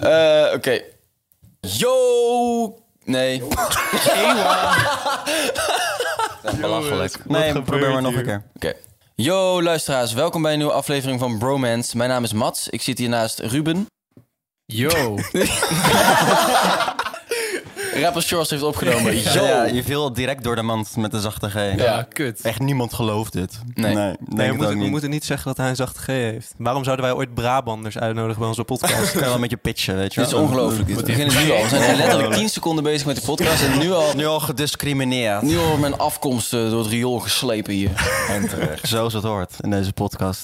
Eh, Oké. Yo! Nee. Belachelijk. Nee, probeer maar nog een keer. Oké. Yo, luisteraars. Welkom bij een nieuwe aflevering van Bromance. Mijn naam is Mats. Ik zit hier naast Ruben. Yo. Rapper Shores heeft opgenomen. Yo! Ja, je viel direct door de mand met de zachte G. Ja, kut. Echt niemand gelooft dit. Nee. denk Nee, het we ook moeten, we niet. moeten niet zeggen dat hij een zachte G heeft. Waarom zouden wij ooit Brabanders uitnodigen bij onze podcast? Ik kan wel met je pitchen, weet je Dit is wel. ongelooflijk. dit. We beginnen nu al. We zijn letterlijk 10 seconden bezig met de podcast. En nu al, Nu al gediscrimineerd. nu al wordt mijn afkomst eh, door het riool geslepen hier. En terecht. Zoals het hoort in deze podcast.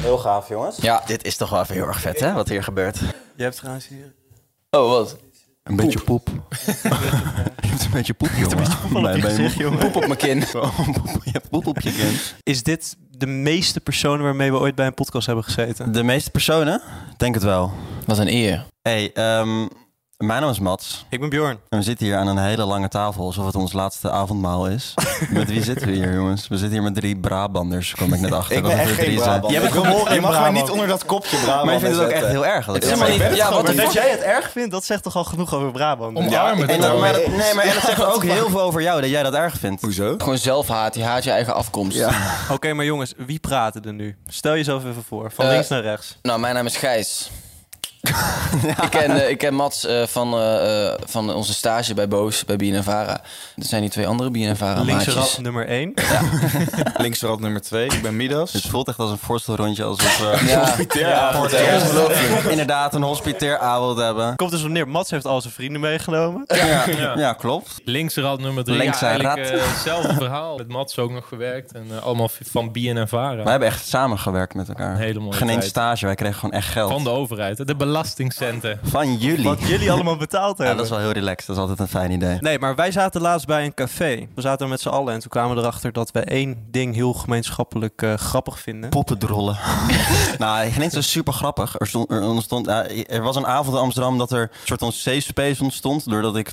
Heel gaaf, jongens. Ja. Dit is toch wel even heel erg vet, hè? Wat hier gebeurt. Je hebt trouwens hier... Oh, wat? Een beetje poep. je hebt een beetje poep, jongen. Nee, ben je moe? Poep op mijn kin. Je hebt poep op je kind. Is dit de meeste personen waarmee we ooit bij een podcast hebben gezeten? De meeste personen? Denk het wel. Wat een eer. hey, ehm, mijn naam is Mats. Ik ben Bjorn. En we zitten hier aan een hele lange tafel, alsof het ons laatste avondmaal is. met wie zitten we hier, jongens? We zitten hier met drie Brabanders, kom ik net achter. Ik dat ben het echt er geen drie zijn. Brabant. Jij bent Ik gewoon wil- Je geen mag mij Brabander. niet onder dat kopje Brabant Maar je vindt het ook echt zetten. heel erg. Dat is helemaal ik niet- ben- ja, gewoon wat een de Dat beetje- jij het erg vindt, dat zegt toch al genoeg over Brabant? Omarmen en het dat, gewoon. maar dat- nee, maar dat zegt ook heel veel over jou, dat jij dat erg vindt. Hoezo? Gewoon zelfhaat. Je haat je eigen afkomst. Oké, maar jongens, wie praten er nu? Stel jezelf even voor, van Eh, links naar rechts. Nou, mijn naam is Gijs. ik, ken, eh, ik ken Mats eh, van, eh, eh, van onze stage bij Boos, bij BNNVARA. Er zijn die twee andere BNNVARA Linkse maatjes. rat nummer 1. Links rad nummer 2, ik ben Het Midas. voelt echt als een voorstelrondje, alsof we Ja, inderdaad een hospiteeravond hebben. Komt dus op neer, Mats heeft al zijn vrienden meegenomen. Ja, ja klopt. Links rad nummer 3. Links ja, eigenlijk rad. eh, hetzelfde verhaal. Met Mats ook nog gewerkt. En eh, allemaal van BNN Vara. We hebben echt samengewerkt met elkaar. Een hele mooie Geen één tijd. stage, wij kregen gewoon echt geld. Van de overheid. hè, De belastingcenten. Van jullie. Wat jullie allemaal betaald Ja, hebben. dat is wel heel relaxed, dat is altijd een fijn idee. Nee, maar wij zaten laatst bij een café. We zaten er met z'n allen en toen kwamen we erachter dat we één ding heel gemeenschappelijk eh, grappig vinden. poppendrollen. nou, geen eens zo super grappig. Er, stond, er, ontstond, ja, er was een avond in Amsterdam dat er een soort van safe space ontstond. Doordat ik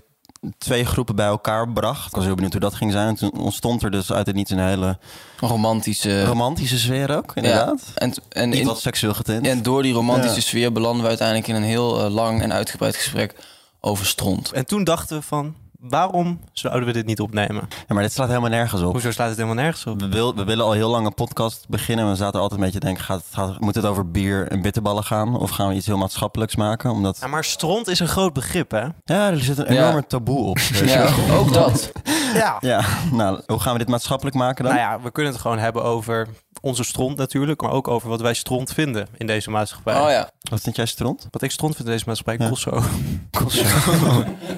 twee groepen bij elkaar bracht. Ik was heel benieuwd hoe dat ging zijn. En toen ontstond er dus uit het niets een hele romantische... romantische sfeer ook, ja. inderdaad. En, en, Niet in- wat seksueel getint. en door die romantische Ja. sfeer belanden we uiteindelijk in een heel eh, lang en uitgebreid gesprek over stront. En toen dachten we van, waarom zouden we dit niet opnemen? Ja, maar dit slaat helemaal nergens op. Hoezo slaat het helemaal nergens op? We, wil- we willen al heel lang een podcast beginnen. en We zaten altijd een beetje te denken, gaat, het- gaat, moet het over bier en bitterballen gaan? Of gaan we iets heel maatschappelijks maken? Omdat, Ja, maar stront is een groot begrip, hè? ja, er zit een Ja. enorme taboe op. weet je Ja, wel. ook dat. Ja. ja, nou, hoe gaan we dit maatschappelijk maken dan? Nou ja, we kunnen het gewoon hebben over onze stront natuurlijk, maar ook over wat wij stront vinden in deze maatschappij. Oh ja, Wat vind jij stront? Wat ik stront vind in deze maatschappij, Ja. Kosso.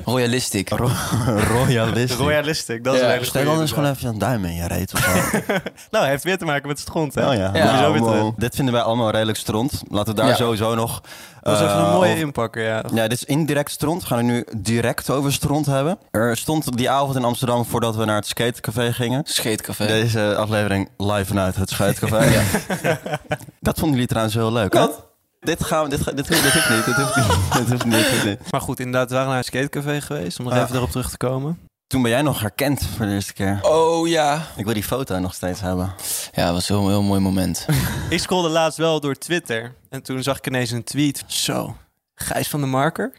royalistic. Royalist. Royalistic, dat Ja, is een hele Stel goeie, anders gewoon inderdaad. even een duim in je reet of zo. Nou, heeft weer te maken met stront, hè? Oh ja. Ja. Nou, Zo weer terug. Dit vinden wij allemaal redelijk stront. Laten we daar Ja. sowieso nog... Dat is even een eh, mooie over- inpakker, ja. Ja, dit is indirect stront. We gaan het nu direct over stront hebben. Er stond die avond in Amsterdam voordat we naar het skatecafé gingen. Scheetcafé. Deze aflevering live vanuit het skatecafé. Dat vonden jullie trouwens heel leuk, hè? Dit gaan we... Dit, ga- dit, dit, hoeft niet. Dit hoeft niet. Dit hoeft niet. Dit hoeft niet. Maar goed, inderdaad, we waren naar een skatecafé geweest, om nog Ja. even erop terug te komen. Toen ben jij nog herkend voor de eerste keer. Oh ja. Ik wil die foto nog steeds hebben. Ja, dat was een heel, heel mooi moment. Ik scrolde laatst wel door Twitter en toen zag ik ineens een tweet. Zo, Gijs van de Marker?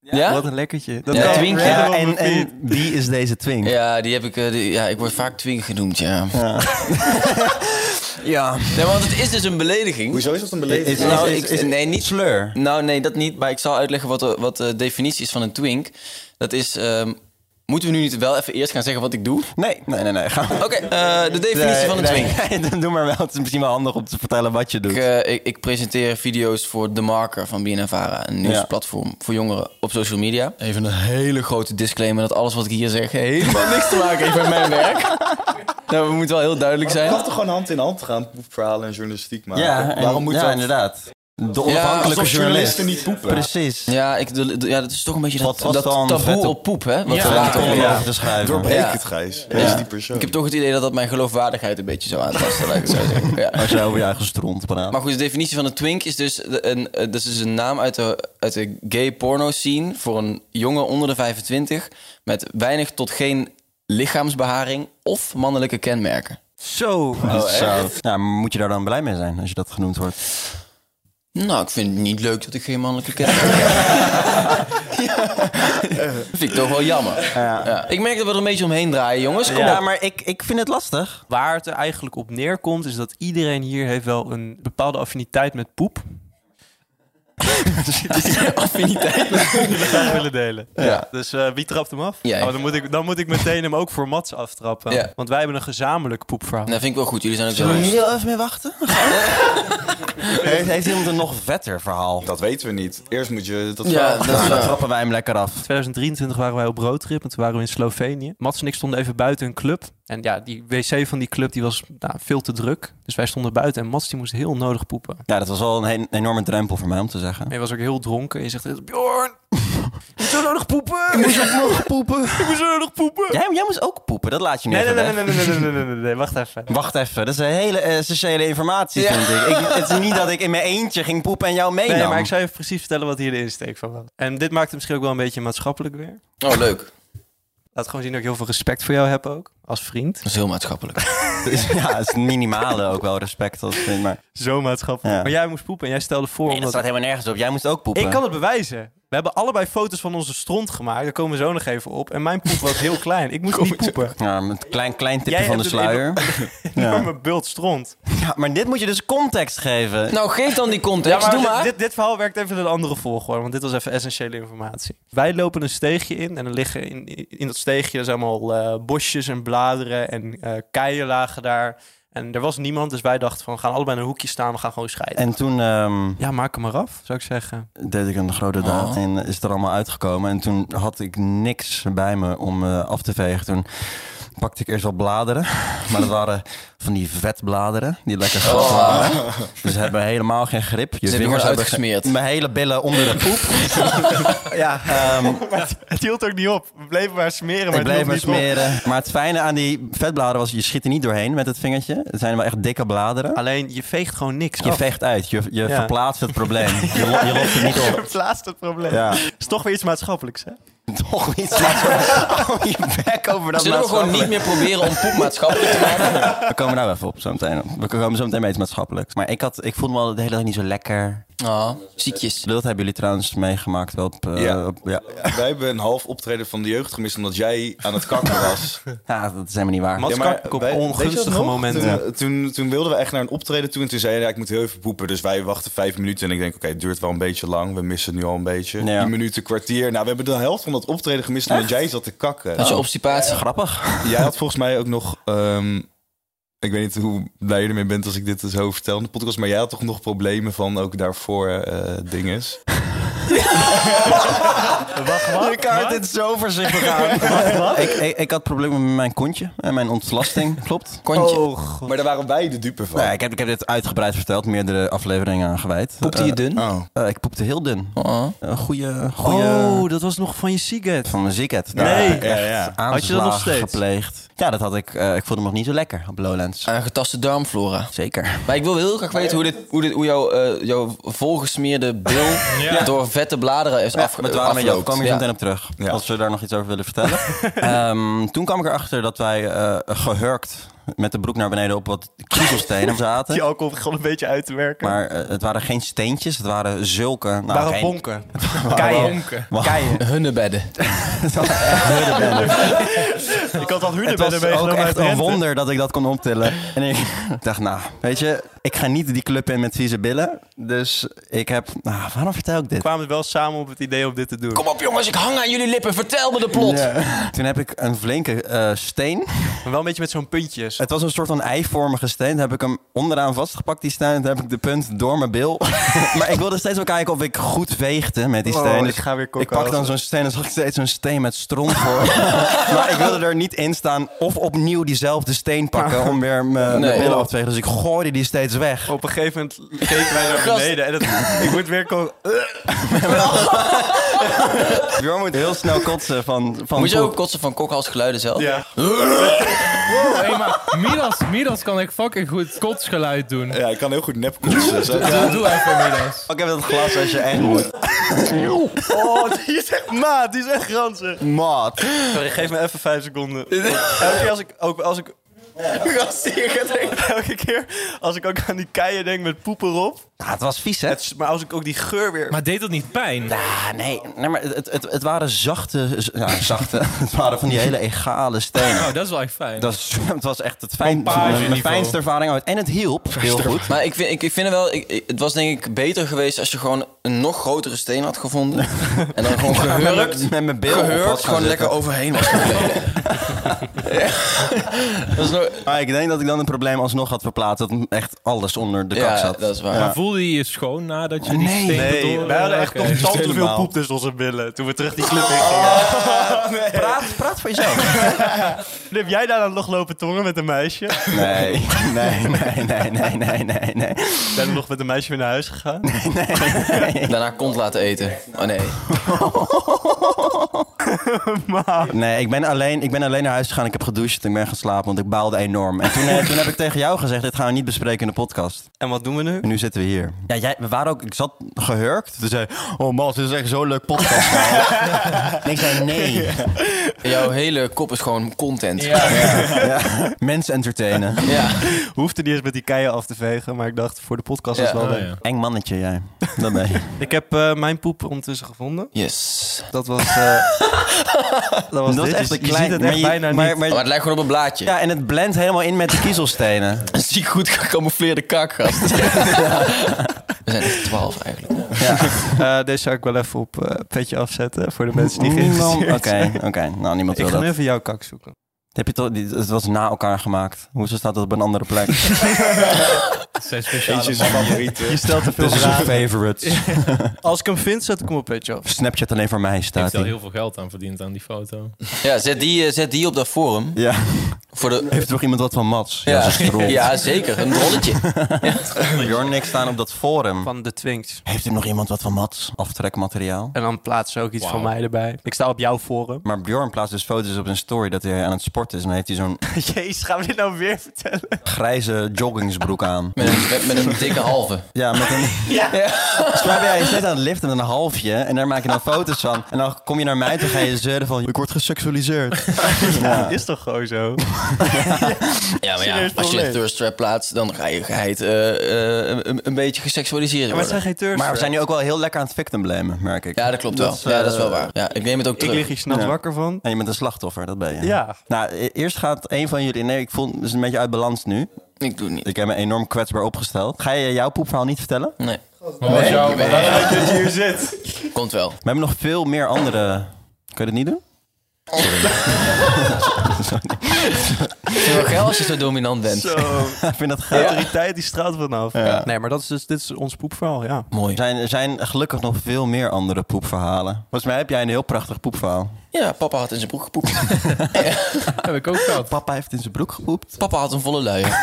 Ja? Wat een lekkertje. Ja, kan twinkje. random Ja, op en, mijn feed. en wie is deze twink? Ja, die heb ik, eh, die- ja, ik word vaak twink genoemd, ja. Ja. Nee, want het is dus een belediging. Hoezo is dat een Is- beleving? Nou, is- ik- is- nee, niet Sleur. Nou, nee, dat niet. Maar ik zal uitleggen wat de, wat de definitie is van een twink. Dat is... ehm, moeten we nu niet wel even eerst gaan zeggen wat ik doe? Nee, nee, nee. nee. Ga Oké, eh, de definitie van een twink. twink. Doe maar wel. Het is misschien wel handig om te vertellen wat je doet. Ik, eh, ik, ik presenteer video's voor The Marker van BNNVARA. Een nieuwsplatform voor jongeren op social media. Even een hele grote disclaimer dat alles wat ik hier zeg... helemaal niks te maken heeft met mijn werk. Nou, we moeten wel heel duidelijk Je zijn. mag toch gewoon hand in hand gaan verhalen en journalistiek maken? ja, en- Waarom moet ja, dat? inderdaad. De onafhankelijke Alsof journalist. journalisten niet poepen. Precies. Ja, ik, de- de- ja, dat is toch een beetje dat, Wat was dat dan taboe vette- op poep, hè? Wat we Ja, later om horen. erover te schrijven. Doorbreek Ja. het, Gijs. Wees die persoon. Ik heb toch het idee dat dat mijn geloofwaardigheid een beetje zou aantasten, laat ik het zo zeggen. Ja. Als jij over je eigen stront praat. Maar goed, de definitie van een twink is dus de- een, eh, dat is dus een naam uit de, uit de gay porno scene voor een jongen onder de 25 met weinig tot geen lichaamsbeharing of mannelijke kenmerken. Zo. Oh, Oh, Nou, Zo. Ja, maar moet je daar dan blij mee zijn als je dat genoemd wordt? Nou, ik vind het niet leuk dat ik geen mannelijke kennis heb. ja. Vind ik toch wel jammer. Ja. Ik merk dat we er een beetje omheen draaien, jongens. Kom Ja, op. maar ik, ik vind het lastig. Waar het er eigenlijk op neerkomt, is dat iedereen hier heeft wel een bepaalde affiniteit met poep. Affiniteit. Die we graag willen delen. Ja. Dus eh, wie trapt hem af? Jij. Oh, dan, moet ik, dan moet ik meteen hem ook voor Mats aftrappen. Ja. Want wij hebben een gezamenlijk poepverhaal. Dat vind ik wel goed. Jullie zijn ook zo. Zullen we hier heel even mee wachten? heeft, heeft iemand een nog vetter verhaal? Dat weten we niet. Eerst moet je dat Ja, verhaal- dat Nou, is dan waar. trappen wij hem lekker af. In 2023 waren wij op roadtrip en toen waren we in Slovenië. Mats en ik stonden even buiten een club. En ja, die wc van die club die was nou, veel te druk. Dus wij stonden buiten en Mats die moest heel nodig poepen. Ja, dat was wel een, he- een enorme drempel voor mij om te zeggen. Hij was ook heel dronken. Je zegt, Bjorn, ik moet zo nodig poepen. poepen. Ik moet zo nodig poepen. Jij, jij moest ook poepen, dat laat je niet Nee, nee, even nee, nee, weg. nee, nee, nee, nee, nee, nee, nee, wacht even. Wacht even, dat is een hele eh, essentiële informatie, Ja. vind ik. ik. Het is niet dat ik in mijn eentje ging poepen en jou meenam. Nee, maar ik zou je precies vertellen wat hier de insteek van was. En dit maakt het misschien ook wel een beetje maatschappelijk weer. Oh, leuk. Dat Laat gewoon zien dat ik heel veel respect voor jou heb ook, als vriend. is heel maatschappelijk. Dus, Ja, het is minimale ook wel respect, dat vind ik. Maar Zo maatschappelijk. Ja. Maar jij moest poepen en jij stelde voor nee, dat omdat... staat helemaal nergens op. Jij moest ook poepen. Ik kan het bewijzen. We hebben allebei foto's van onze stront gemaakt. Daar komen we zo nog even op. En mijn poep was heel klein. Ik moest niet poepen. Ja, met een klein, klein tipje Jij van de hebt het sluier. Ja. Ja. Mijn bult stront. Ja, maar dit moet je dus context geven. Nou, geef dan die context. Doe dit- maar. Dit, dit verhaal werkt even in een andere volgorde, want dit was even essentiële informatie. Wij lopen een steegje in en er liggen in, in dat steegje dus allemaal eh, bosjes en bladeren en eh keien lagen daar. En er was niemand, dus wij dachten van, we gaan allebei in een hoekje staan, we gaan gewoon scheiden. En toen ehm, Ja, maak hem maar af, zou ik zeggen. deed ik een grote daad Oh. en is het er allemaal uitgekomen. En toen had ik niks bij me om eh, af te vegen. Toen pakte ik eerst wel bladeren. Maar dat waren van die vetbladeren, die lekker glad Oh. waren. Dus ze hebben helemaal geen grip. hebben Je vingers gewoon hebben ge- uitgesmeerd. Mijn hele billen onder de poep. ja, ehm, Het hield ook niet op. We bleven maar smeren, maar ik bleef maar het hield niet op. smeren. Maar het fijne aan die vetbladeren was, je schiet er niet doorheen met het vingertje. Het zijn wel echt dikke bladeren. Alleen, je veegt gewoon niks Je af. veegt uit, je, je Oh. Ja. verplaatst het probleem. Je, lo- je lost het niet op. Verplaatst het probleem. Ja. is toch weer iets maatschappelijks, hè? Toch iets maatschappelijk. Oh, je bek over dat Zullen we gewoon niet maatschappelijk. meer proberen om poep maatschappelijk te maken? We komen daar wel even op zo meteen. We komen zo meteen bij iets maatschappelijks. Maar ik, had, ik voelde me al de hele dag niet zo lekker. Oh, ziekjes. Dat hebben jullie trouwens meegemaakt wel op... eh, Ja. op- ja. Wij hebben een half optreden van de jeugd gemist omdat jij aan het kakken was. ja, dat is helemaal niet waar. eh, Mats Karpik op wij- weet je dat ongunstige nog? momenten. Toen, toen, toen wilden we echt naar een optreden toe en toen zei hij, ja, ik moet heel even poepen. Dus wij wachten vijf minuten en ik denk, oké, het duurt wel een beetje lang. We missen het nu al een beetje. Ja. Een minuut, een kwartier. Nou, we hebben de helft van dat optreden gemist omdat jij zat te kakken. Dat is obstipatie. Grappig. Jij had volgens mij ook nog... ehm, ik weet niet hoe blij je ermee bent als ik dit zo vertel in de podcast. Maar jij had toch nog problemen van ook daarvoor eh dinges. Ik kan dit zo voorzichtig aan. Ik, ik, ik had problemen met mijn kontje en mijn ontlasting. Klopt. Kontje. Maar daar waren wij de dupe van. Nee, ik, heb, ik heb dit uitgebreid verteld, meerdere afleveringen aan gewijd. Poepte je dun? Oh. Eh, ik poepte heel dun. Oh. Een goede, goede Oh, dat was nog van je Seagate. van mijn ziekheid. Nee. Ja, ja, ja. Had je dat nog steeds? gepleegd. Ja, dat had ik. eh, ik voelde me nog niet zo lekker op Lowlands. Aangetaste darmflora. Zeker. Maar ik wil heel graag weten hoe, dit, hoe, dit, hoe jouw, eh, jouw volgesmeerde bil door vette bladeren is afge- Maar het waren met jou. afloopt. Ik kom hier zo Ja. meteen op terug. Ja. Als we daar nog iets over willen vertellen. Ehm, toen kwam ik erachter dat wij eh, gehurkt met de broek naar beneden op wat kiezelstenen zaten. Die alcohol gewoon een beetje uit te werken. Maar eh, het waren geen steentjes, het waren zulke. Nou, waren geen- bonken. Keien. Wa- Keien. Hunnebedden. Ik had al Het was ook echt een wonder dat ik dat kon optillen. En ik dacht, nou, weet je, ik ga niet die club in met vieze billen. Dus ik heb, nou, waarom vertel ik dit? We kwamen wel samen op het idee om dit te doen. Kom op jongens, ik hang aan jullie lippen. Vertel me de plot. Ja. Toen heb ik een flinke eh, steen. Maar wel een beetje met zo'n puntjes. Het was een soort van eivormige steen. Daar heb ik hem onderaan vastgepakt, die steen. Toen heb ik de punt door mijn bil. maar ik wilde steeds wel kijken of ik goed veegde met die steen. Oh, Dus ik ga weer ik kokken. pak dan zo'n steen en zag ik steeds zo'n steen met stront voor. maar ik wilde er niet in staan of opnieuw diezelfde steen pakken om weer mijn mijn Nee. billen af te vegen. Dus ik gooide die steeds weg. Op een gegeven moment keken wij naar beneden. En het, ik moet weer komen. Bjorn moet heel snel kotsen van, van Moet je ook poep. kotsen van kokhalsgeluiden zelf? Ja. Wow, hey, Oh, maar Midas, Midas kan echt fucking goed kotsgeluid doen. Ja, ik kan heel goed nep kotsen. Zo- Doe, doe even Midas. Ik heb dat glas als je echt moet. Oh, die is echt maat. Die is echt ranzig. Maat. Sorry, geef me even vijf seconden. Elke keer als ik... Ook, als ik Elke keer als ik ook aan die keien denk met poep erop, Nou, het was vies, hè? Het is- maar als ik ook die geur weer... Maar deed dat niet pijn? Ja, nee, nee maar het, het, het waren zachte, z- ja, zachte. het waren van die hele egale stenen. Oh, dat is wel echt fijn. Dat is, het was echt het fijn, Pompage mijn niveau. fijnste ervaring ooit. En het hielp heel goed. Maar ik vind, ik, ik vind het wel, ik- ik- het was denk ik beter geweest als je gewoon een nog grotere steen had gevonden. en dan gewoon Met mijn- gehurkt. Met mijn beeld. Gehurkt, gewoon lekker overheen was gegleden. Ja. Dat is nog- Ah, ik denk dat ik dan het probleem alsnog had verplaatst. Dat echt alles onder de kap ja, zat. dat is waar. Maar voelde je je schoon nadat je die Nee. steen Nee, bedoelde? wij hadden echt Oké. nog is tal te veel helemaal. poep tussen onze billen toen we terug die club in gingen. praat, praat voor jezelf. Heb jij daar dan nog lopen tongen met een meisje? Nee, nee, nee, nee, nee, nee, nee, nee. Ben je nog met een meisje weer naar huis gegaan? Daarna kont laten eten. Oh nee. Nee, ik ben, alleen, ik ben alleen naar huis gegaan. Ik heb gedoucht en ik ben gaan slapen, want ik baalde enorm. En toen, eh, toen heb ik tegen jou gezegd, dit gaan we niet bespreken in de podcast. En wat doen we nu? En nu zitten we hier. Ja, jij, we waren ook, ik zat gehurkt. Toen zei oh man, dit is echt zo'n leuk podcast. en ik zei, nee. Jouw hele kop is gewoon content. Ja, Mensen entertainen. Ja. Hoefde niet eens met die keien af te vegen, maar ik dacht voor de podcast is Ja. het wel Oh, leuk. ja. Eng mannetje jij. Dat ben je. Ik heb eh, mijn poep ondertussen gevonden. Yes. Dat was. eh, dat was Dat is dit. echt Je- een je klein... ziet het echt maar je- bijna maar- niet. Oh, maar- Maar het lijkt gewoon op een blaadje. ja, en het blendt helemaal in met de kiezelstenen. Een ziek goed gecamoufleerde kakgast. We zijn echt twaalf eigenlijk. Eh, deze zou ik wel even op eh, het petje afzetten voor de mensen die geïnteresseerd Oké, zijn. oké. Nou, niemand Ik wil ga dat. nu even jouw kak zoeken. Heb je toch, die- het was na elkaar gemaakt. Hoezo staat dat op een andere plek? dat zijn speciale Eentje is mannen. favorieten. Je stelt te veel Dit is een vragen. favorites. Als ik hem vind, zet ik hem op het petje af. Snapchat alleen voor mij Ik staat heb daar die. heel veel geld aan verdiend aan die foto. Ja, zet die, eh, zet die op dat forum. Ja, Voor de... heeft toch iemand wat van Mats? Ja, Ja, ze is ja, zeker. Een rolletje. niks staan op dat forum. Van de Twinks. Heeft er nog iemand wat van Mats? Aftrekmateriaal. En dan plaatsen ze ook iets Wauw. van mij erbij. Ik sta op jouw forum. Maar Bjorn plaatst dus foto's op zijn story dat hij aan het sporten is. En dan heeft hij zo'n Jezus, gaan we dit nou weer vertellen? grijze joggingsbroek aan. Met een, met, met een dikke halve. Ja, Dus met een... Ja. Volgens mij ben jij net aan het liften met een halfje. En daar maak je dan foto's van. En dan kom je naar mij en ga je zeuren van... Ik word geseksualiseerd. Is toch gewoon zo? Ja, maar ja, Serieus als je een probleem. thirst trap plaatst, dan ga je geheid eh, eh, een, een beetje geseksualiseerd maar het zijn worden. geen turfs. Maar we zijn nu ook wel heel lekker aan het victim blamen, merk ik. Ja, dat klopt wel. Dat is, ja, dat is wel eh, waar. Ja, ik neem het ook Ik terug. lig hier s'nachts Ja. wakker van. En je bent een slachtoffer, dat ben je. Ja. Nou, e- eerst gaat een van jullie... Nee, ik voel het is een beetje uit balans nu. Ik doe het niet. Ik heb me enorm kwetsbaar opgesteld. Ga je jouw poepverhaal niet vertellen? Nee, Wat was jouw... Dat je hier zit. komt wel. We hebben nog veel meer andere... Kun je dat niet doen? Ik vind het wel geil als je zo dominant bent. Zo. Ik vind dat De gaaf. autoriteit die straalt vanaf. Nee, maar dat is dus, dit is ons poepverhaal, ja. Mooi. Er zijn, er zijn gelukkig nog veel meer andere poepverhalen. Volgens mij heb jij een heel prachtig poepverhaal. Ja, papa had in zijn broek gepoept. Heb ik ook gehad. Papa heeft in zijn broek gepoept. Papa had een volle luier.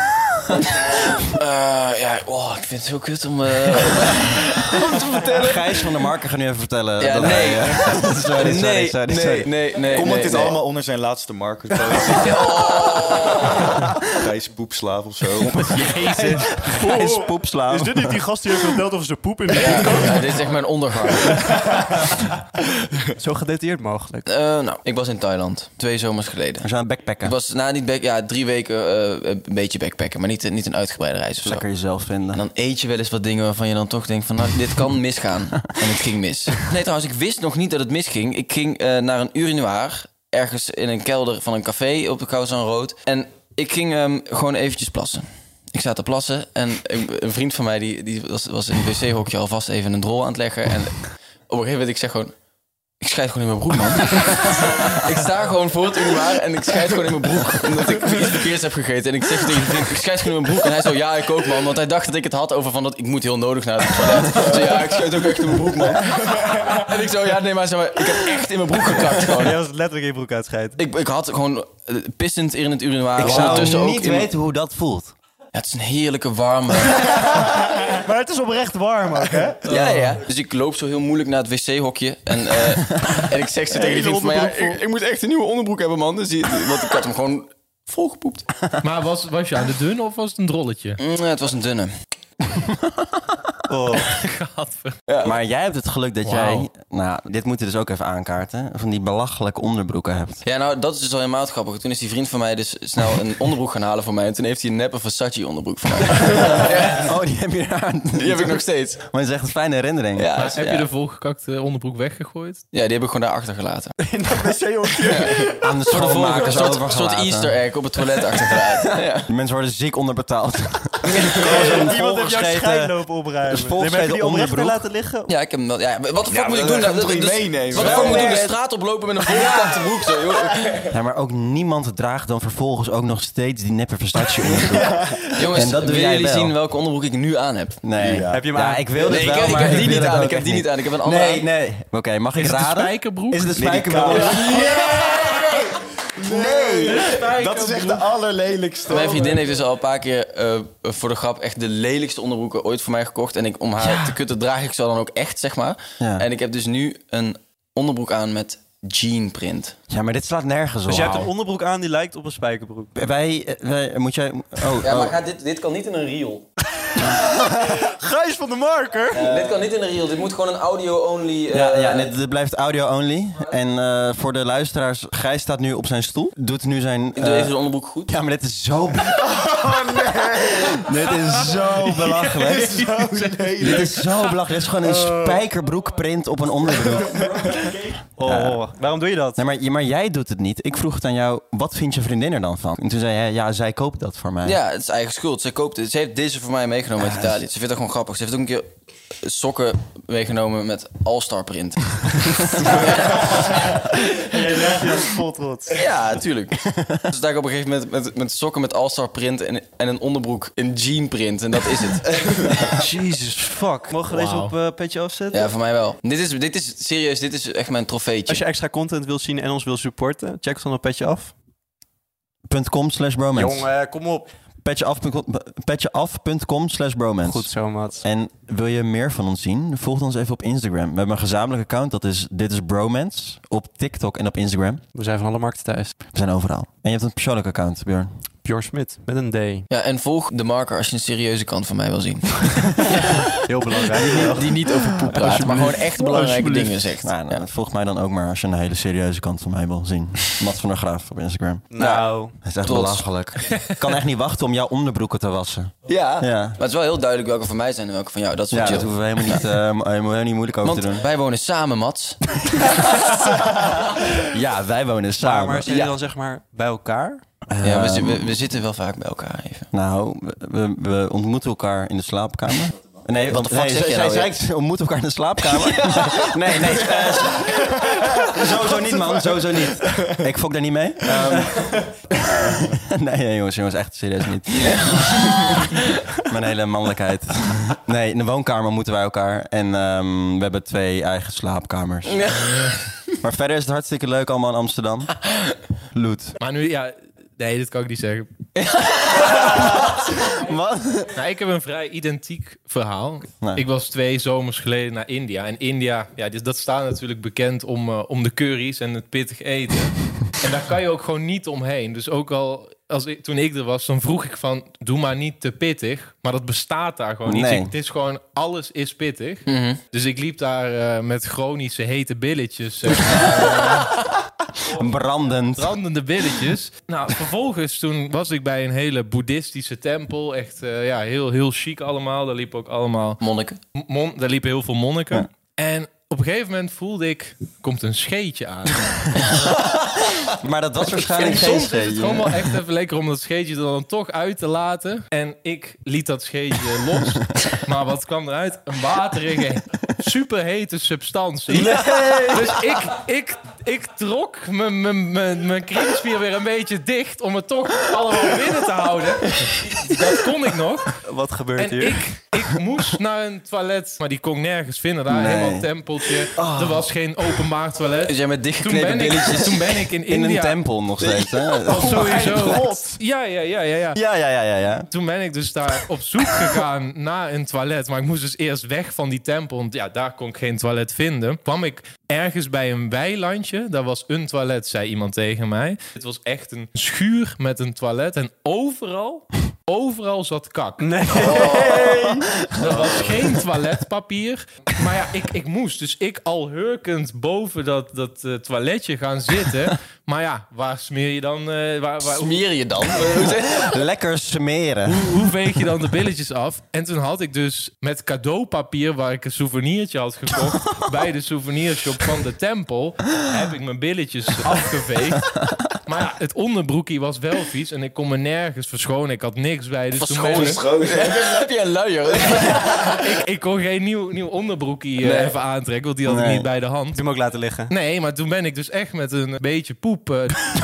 Eh, ja, oh, ik vind het zo kut om... eh, Gijs van der Marken gaat nu even vertellen. Ja, dat nee. hij, eh, sorry, sorry, sorry, nee, sorry. nee, nee, nee. Comment nee, dit nee. allemaal onder zijn laatste marker. Gijs poepslaaf of zo. Jezus. Gijs poepslaan. dit niet die gast die heeft verteld over zijn poep in Ja, dit is echt mijn ondergang. Zo gedetailleerd mogelijk. Eh, nou, ik was in Thailand. Twee zomers geleden. We zijn backpacken. Ik was na niet back, ja, drie weken eh, een beetje backpacken, maar niet, niet een uitgebreide reis of zo. Lekker jezelf vinden. En dan eet je wel eens wat dingen waarvan je dan toch denkt van, nou, dit kan misgaan. En het ging mis. Nee, trouwens, ik wist nog niet dat het misging. Ik ging eh, naar een urinoir, ergens in een kelder van een café op de Kousan Road. En ik ging ehm, gewoon eventjes plassen. Ik zat te plassen en een een vriend van mij die, die was, was in het wc-hokje alvast even een drol aan het leggen. En op een gegeven moment, ik zeg gewoon, ik schijt gewoon in mijn broek, man. ik sta gewoon voor het urinoir en ik schijt gewoon in mijn broek. Omdat ik iets verkeerds heb gegeten. En ik zeg tegen die vriend, ik schijt gewoon in mijn broek. En hij zo, ja, ik ook, man. Want hij dacht dat ik het had over van dat ik moet heel nodig naar het toilet. Ik zo, ja, ik schijt ook echt in mijn broek, man. En ik zo, ja, nee, maar, zeg maar ik heb echt in mijn broek gekakt gewoon. Jij was letterlijk in je broek uitscheiden. Ik, ik had gewoon eh, pissend in het urinoir. ik Ondertussen zou ook niet in mijn- weten hoe dat voelt. Ja, het is een heerlijke warme... Maar het is oprecht warm ook, hè? Ja, ja. Dus ik loop zo heel moeilijk naar het wc-hokje. En, eh, en ik zeg ze tegen die vriend van... Ja, ik, ik moet echt een nieuwe onderbroek hebben, man. Dus die, want ik had hem gewoon volgepoept. Maar was, was je aan de dun of was het een drolletje? Mm, het was een dunne. Gadver. Maar jij hebt het geluk dat Wauw. jij, nou, dit moeten we dus ook even aankaarten, van die belachelijke onderbroeken hebt. Ja, nou, dat is dus al helemaal het grappige. Toen is die vriend van mij dus snel een onderbroek gaan halen voor mij. En toen heeft hij een neppe Versace onderbroek van mij. Oh, die heb je daar. Die heb ik nog steeds. Maar het is echt een fijne herinnering. Ja, dus Maar heb ja. je de volgekakte onderbroek weggegooid? ja, die heb ik gewoon daarachter gelaten. Een Aan de soort, schoonmakers soort, soort, overgelaten. easter egg op het toilet achtergelaten. ja. Die mensen worden ziek onderbetaald. Iemand heeft jouw volgescheten- schijn lopen opruimen. maar heb volgescheten Dus je die oprecht onderbroek. laten liggen? ja, ik heb hem wel... Ja, wat de fuck Ja, moet ik dat doen? gaat Nou, toch niet dus- meenemen? Wat de fuck Wel, moet ik doen? De nee. straat oplopen met een volgekakte broek zo, joh. Ja, maar ook niemand draagt dan vervolgens ook nog steeds die neppe verstaatje onderbroek. Jongens, En dat doe willen jij jullie wel. zien welke onderbroek ik nu aan heb? Nee. Ja. Heb je hem ja, aan? ik wil Nee, dit ik, wel, ik maar heb ik die wil niet het aan. ook Ik heb echt die niet aan. Ik heb een andere Nee, aan. nee. Oké, mag ik Is het een raden? spijkerbroek? Is het een Nee, die spijkerbroek? Dat is echt de allerlelijkste. Mijn vriendin heeft dus al een paar keer eh, voor de grap echt de lelijkste onderbroeken ooit voor mij gekocht. En ik, om haar te kutten draag ik ze dan ook echt, zeg maar. Ja. En ik heb dus nu een onderbroek aan met jeanprint. Ja, maar dit slaat nergens op. Dus je hebt een onderbroek aan die lijkt op een spijkerbroek. Wij, eh, wij, moet jij... Oh, Ja, maar oh. ga dit, dit kan niet in een reel. Eh, Gijs van de Marker! dit kan niet in een reel. Dit moet gewoon een audio-only... eh, Ja, ja dit, dit blijft audio only. En eh, voor de luisteraars, Gijs staat nu op zijn stoel. Doet nu zijn... Ik doe eh, even Oh, de onderbroek goed. ja, maar dit is zo... Dit is zo belachelijk. Dit is zo belachelijk. Dit is gewoon een Oh. spijkerbroekprint op een onderbroek. Oh, waarom doe je dat? Nee, maar, maar jij doet het niet. Ik vroeg het aan jou, wat vindt je vriendin er dan van? En toen zei jij, ja, zij koopt dat voor mij. Ja, het is eigen schuld. Ze koopt het. Ze heeft deze voor mij meegenomen uit Italië. Ze vindt dat gewoon grappig. Ze heeft ook een keer sokken meegenomen met All-Star print. Jij draagt je als vol trots. Ja, tuurlijk. dus daar op een gegeven moment met, met sokken met All-Star print en, en een onderbroek in jean print. En dat is het. Jesus fuck. Mogen we deze Wauw. op eh, petje afzetten? ja, voor mij wel. Dit is, dit is serieus, dit is echt mijn trofeetje. Als je extra content wilt zien en ons wilt supporten, check ons dan op petje af. .com slash bromance. kom op. Petjeaf.com Petjeaf.com slash bromance. Goed zo, Mats. En wil je meer van ons zien? Volg ons even op Instagram. We hebben een gezamenlijk account. Dat is Dit is Bromance. Op TikTok en op Instagram. We zijn van alle markten thuis. We zijn overal. En je hebt een persoonlijk account, Björn. Bjorn Smit, met een D. Ja, en volg de marker als je een serieuze kant van mij wil zien. Heel belangrijk. Die niet over poep praat, maar gewoon echt belangrijke dingen zegt. Nou, nou, Volg mij dan ook maar als je een hele serieuze kant van mij wil zien. Mats van der Graaf op Instagram. Nou, Dat is echt Trots. belachelijk. Ik kan echt niet wachten om jouw onderbroeken te wassen. Ja. Ja, Maar het is wel heel duidelijk welke van mij zijn en welke van jou. Dat is wel ja dat chill. hoeven we helemaal niet, eh, mo- eh, helemaal niet moeilijk over Want te doen. wij wonen samen, Mats. Ja, wij wonen maar, samen. maar zijn jullie dan zeg maar bij elkaar? Ja, we, Ehm, zi- we, we zitten wel vaak bij elkaar even. Nou, we- we, we ontmoeten elkaar in de slaapkamer. Nee, Wat want de fuck nee, zeg zij, jij zij nou zei, ze ontmoeten elkaar in de slaapkamer. Nee, nee. eh, ze- sowieso niet, man. Sowieso niet. Ik fok daar niet mee. Ehm, nee, nee, jongens. Jongens, echt serieus niet. Mijn hele mannelijkheid. Nee, in de woonkamer moeten wij elkaar. En ehm, we hebben twee eigen slaapkamers. Maar verder is het hartstikke leuk allemaal in Amsterdam. Loet. Maar nu, ja... Nee, dit kan ik niet zeggen. Wat? Nou, ik heb een vrij identiek verhaal. Nee. Ik was twee zomers geleden naar India. En India, ja, dit- dat staat natuurlijk bekend om, eh, om de curry's en het pittig eten. en daar kan je ook gewoon niet omheen. Dus ook al als ik, toen ik er was, dan vroeg ik van... doe maar niet te pittig. Maar dat bestaat daar gewoon niet. Nee. Ik- het is gewoon, alles is pittig. Dus ik liep daar eh, met chronische hete billetjes... eh, Brandend. brandende billetjes. nou, vervolgens toen was ik bij een hele boeddhistische tempel. Echt eh, ja, heel, heel chic allemaal. Daar liepen ook allemaal Monniken. mon, daar liepen heel veel monniken. En op een gegeven moment voelde ik, komt een scheetje aan. Maar dat was waarschijnlijk en geen soms is het scheetje. gewoon wel echt even lekker om dat scheetje er dan toch uit te laten. En ik liet dat scheetje los. Maar wat kwam eruit? Een waterige, superhete substantie. Dus ik, ik, ik trok mijn- mijn- mijn mijn kringspier weer een beetje dicht om het toch allemaal binnen te houden. Dat kon ik nog. Wat gebeurt En hier? ik, ik moest naar een toilet, maar die kon ik nergens vinden. Daar Nee. Ah. helemaal een tempeltje. Er was geen openbaar toilet. Dus jij met Toen dichtgeknepen ben, ik, billetjes. toen ben ik in, In een India. tempel nog steeds, hè? Of Oh sowieso. Ja, ja, ja, ja, ja. Ja, ja, ja, ja, ja. Toen ben ik dus daar op zoek gegaan naar een toilet. Maar ik moest dus eerst weg van die tempel. Want ja, daar kon ik geen toilet vinden. Kwam ik ergens bij een weilandje. Daar was een toilet, zei iemand tegen mij. Het was echt een schuur met een toilet. En overal, Overal zat kak. Nee. Er was geen toiletpapier. Maar ja, ik, ik moest. Dus ik al hurkend boven dat, dat eh, toiletje gaan zitten. Maar ja, waar smeer je dan... eh, waar, waar, hoe, Smeer je dan? Hoe zeg je? Lekker smeren. hoe veeg je dan de billetjes af? En toen had ik dus met cadeaupapier... waar ik een souvenirtje had gekocht... bij de souvenirshop van de tempel... heb ik mijn billetjes afgeveegd. Maar ja, het onderbroekje was wel vies... en ik kon me nergens verschonen. Ik had niks bij. Dus toen ben ik- Heb je een luier? ik, ik kon geen nieuw, nieuw onderbroekje eh, Nee. even aantrekken, want die had ik Nee. niet bij de hand. hem ook laten liggen. Nee, maar toen ben ik dus echt met een beetje poep eh,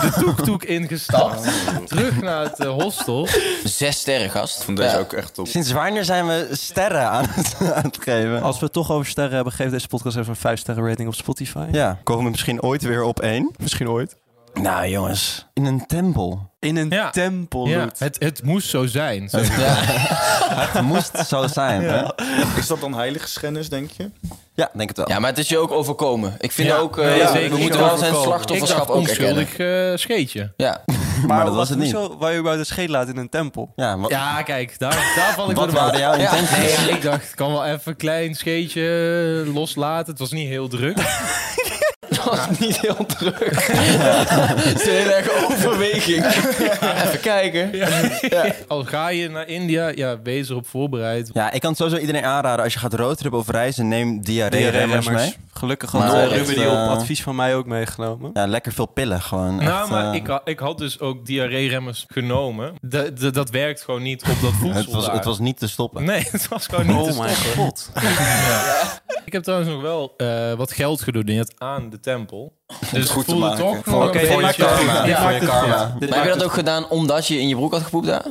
de toektoek ingestapt. Terug naar het eh, hostel. Zes sterren, gast. Vond deze Ja. ook echt top. Sinds wanneer zijn we sterren aan het, aan het geven? Als we het toch over sterren hebben, geef deze podcast even een 5 sterren rating op Spotify. Ja, komen we misschien ooit weer op één? Misschien ooit. Nou jongens, in een tempel. In een Ja. tempel, Ja, Loet. het, het moest zo zijn. zeg maar. Het moest zo zijn, ja. hè? Is dat dan heiligschennis, denk je? Ja, denk het wel. Ja, maar het is je ook overkomen. Ik vind Ja. ook, eh, Nee, ja, zeker. we moeten Ik wel zijn overkomen. Ik slachtofferschap dacht ook erkennen. onschuldig eh, scheetje. Ja. Maar, dat was wacht, het niet. Hoezo, waar je wou de scheet laten in een tempel? Ja, wat, Ja, kijk, daar, daar val ik wat door de waren jouw maat. Ja. intenties? Nee, ik dacht, ik kan wel even een klein scheetje eh, loslaten. Het was niet heel druk. Dat was niet heel druk. Het is een hele erg overweging. Even kijken. Al ga je naar India, ja, wees erop voorbereid. Ja, ik kan het sowieso iedereen aanraden. Als je gaat roadtrippen of reizen, neem diarree-remmers Diarree-remmers. mee. Gelukkig Maar had eh, echt, Ruben die op eh, advies van mij ook meegenomen. Ja, lekker veel pillen gewoon. Nou, Echt, maar eh, ik, ha- ik had dus ook diarree-remmers genomen. Da- da- dat werkt gewoon niet op dat voedsel het, was, daar. het was niet te stoppen. Nee, het was gewoon niet te Oh my stoppen. god. Ik heb trouwens nog wel eh, wat geld gedoneerd aan de tempel. Dus goed ik te voelde maken. toch nog Oké, een dit beetje... maakt het Ja, goed. Dit ja, maakt het karma. goed. Maar heb je dat ook gedaan omdat je in je broek had gepoept daar?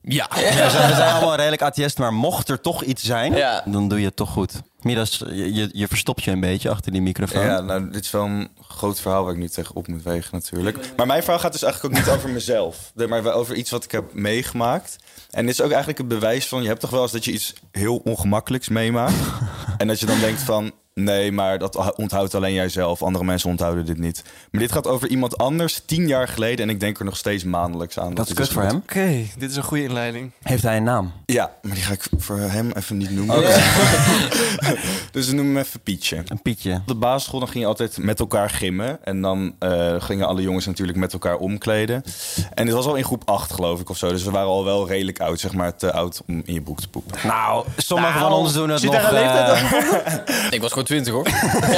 Ja. We zijn, we zijn allemaal redelijk atheïst, maar mocht er toch iets zijn, Ja. dan doe je het toch goed. Midas, je, je, je verstopt je een beetje achter die microfoon. Ja, nou, dit is wel een groot verhaal waar ik nu tegen op moet wegen natuurlijk. Maar mijn verhaal gaat dus eigenlijk ook niet over mezelf. Nee, Maar wel over iets wat ik heb meegemaakt. En dit is ook eigenlijk het bewijs van... je hebt toch wel eens dat je iets heel ongemakkelijks meemaakt. en dat je dan denkt van... nee, maar dat onthoudt alleen jijzelf. Andere mensen onthouden dit niet. Maar dit gaat over iemand anders, tien jaar geleden... en ik denk er nog steeds maandelijks aan. dat is dit kut voor gebeurd. hem. Oké, dit is een goede inleiding. Heeft hij een naam? Ja, maar die ga ik voor hem even niet noemen. dus we noemen hem even Pietje. Een Pietje. Op de basisschool dan ging je altijd met elkaar gimmen. En dan eh, gingen alle jongens natuurlijk met elkaar omkleden. En dit was al in groep 8, geloof ik, of zo. Dus we waren al wel redelijk oud, zeg maar, te oud om in je broek te poepen. Nou, sommigen Nou, van ons doen het zit nog... daar een leeftijd eh, Ik was gewoon twintig hoor.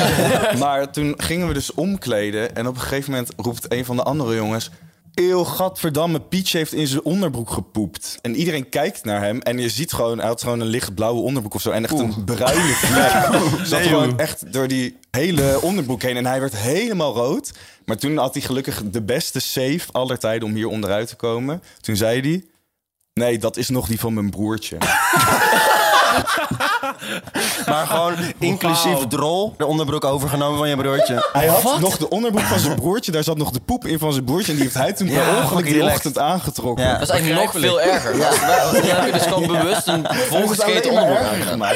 maar toen gingen we dus omkleden. En op een gegeven moment roept een van de andere jongens... Eeuw, gadverdamme, Pietje heeft in zijn onderbroek gepoept. En iedereen kijkt naar hem en je ziet gewoon... Hij had gewoon een lichtblauwe onderbroek of zo. En echt een bruine vlek. Zat gewoon echt door die hele onderbroek heen. En hij werd helemaal rood. Maar toen had hij gelukkig de beste save aller tijden om hier onderuit te komen. Toen zei hij... Nee, dat is nog die van mijn broertje. maar gewoon inclusief drol. De onderbroek overgenomen van je broertje. Hij had nog de onderbroek van zijn broertje. Daar zat nog de poep in van zijn broertje. En die heeft hij toen Ja, per ongeluk fucking die relaxed. ochtend aangetrokken. Ja. Dat is eigenlijk nog veel erger. Ja. Dan heb je dus gewoon bewust een volgescheten onderbroek aangedaan.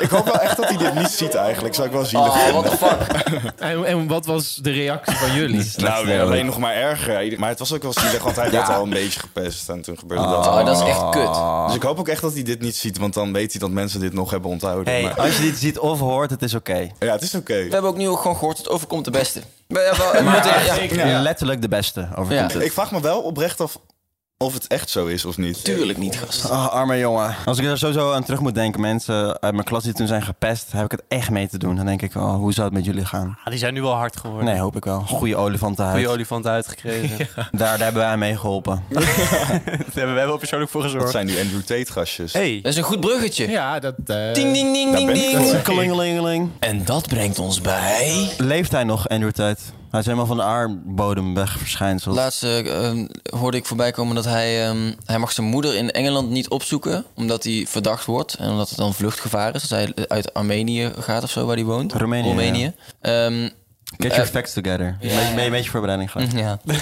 Ik hoop wel echt dat hij dit niet ziet eigenlijk. Zou ik wel zielig Oh, what the fuck. En, en wat was de reactie van jullie? Nou, weer alleen nog maar erger. Ieder- Maar het was ook wel zielig, want hij werd al een beetje gepest. En toen gebeurde dat. Oh, dat is echt kut. Dus ik hoop ook echt dat hij dit niet ziet. Want dan weet hij dat mensen dit nog hebben onthouden. Hey, Maar- als je dit ziet of hoort, het is oké. Ja, het is oké. We hebben ook nu ook gewoon gehoord, het overkomt de beste. We hebben, we moeten, ja, Letterlijk de beste over Ja. Ik vraag me wel oprecht af of het echt zo is of niet. tuurlijk niet, gast. Ah, arme jongen. Als ik er sowieso aan terug moet denken, mensen uit mijn klas die toen zijn gepest, heb ik het echt mee te doen. Dan denk ik, oh, hoe zou het met jullie gaan? Ah, die zijn nu wel hard geworden. Nee, hoop ik wel. Goede olifantenhuid. Goede olifant uitgekregen. Daar Daar, daar hebben wij aan mee geholpen. hebben wij wel persoonlijk voor Dat gezorgd. zijn nu Andrew Tate gastjes. Hey, Dat is een goed bruggetje. Ja, dat... eh, Ding, ding, ding, Daar ding, ben ik ding. Klingelingeling. En dat brengt ons bij... Leeft hij nog, Andrew Tate? Hij is helemaal van de aardbodem wegverschijnsel. Laatst eh, ehm, hoorde ik voorbij komen dat hij, ehm, hij mag zijn moeder in Engeland niet opzoeken. Omdat hij verdacht wordt. En omdat het dan vluchtgevaar is. Als hij uit Armenië gaat of zo, waar hij woont. Roemenië, Roemenië. Ehm, Get your Eh, facts together. ja, Een beetje- ja. Een beetje voorbereiding gehad. Ja.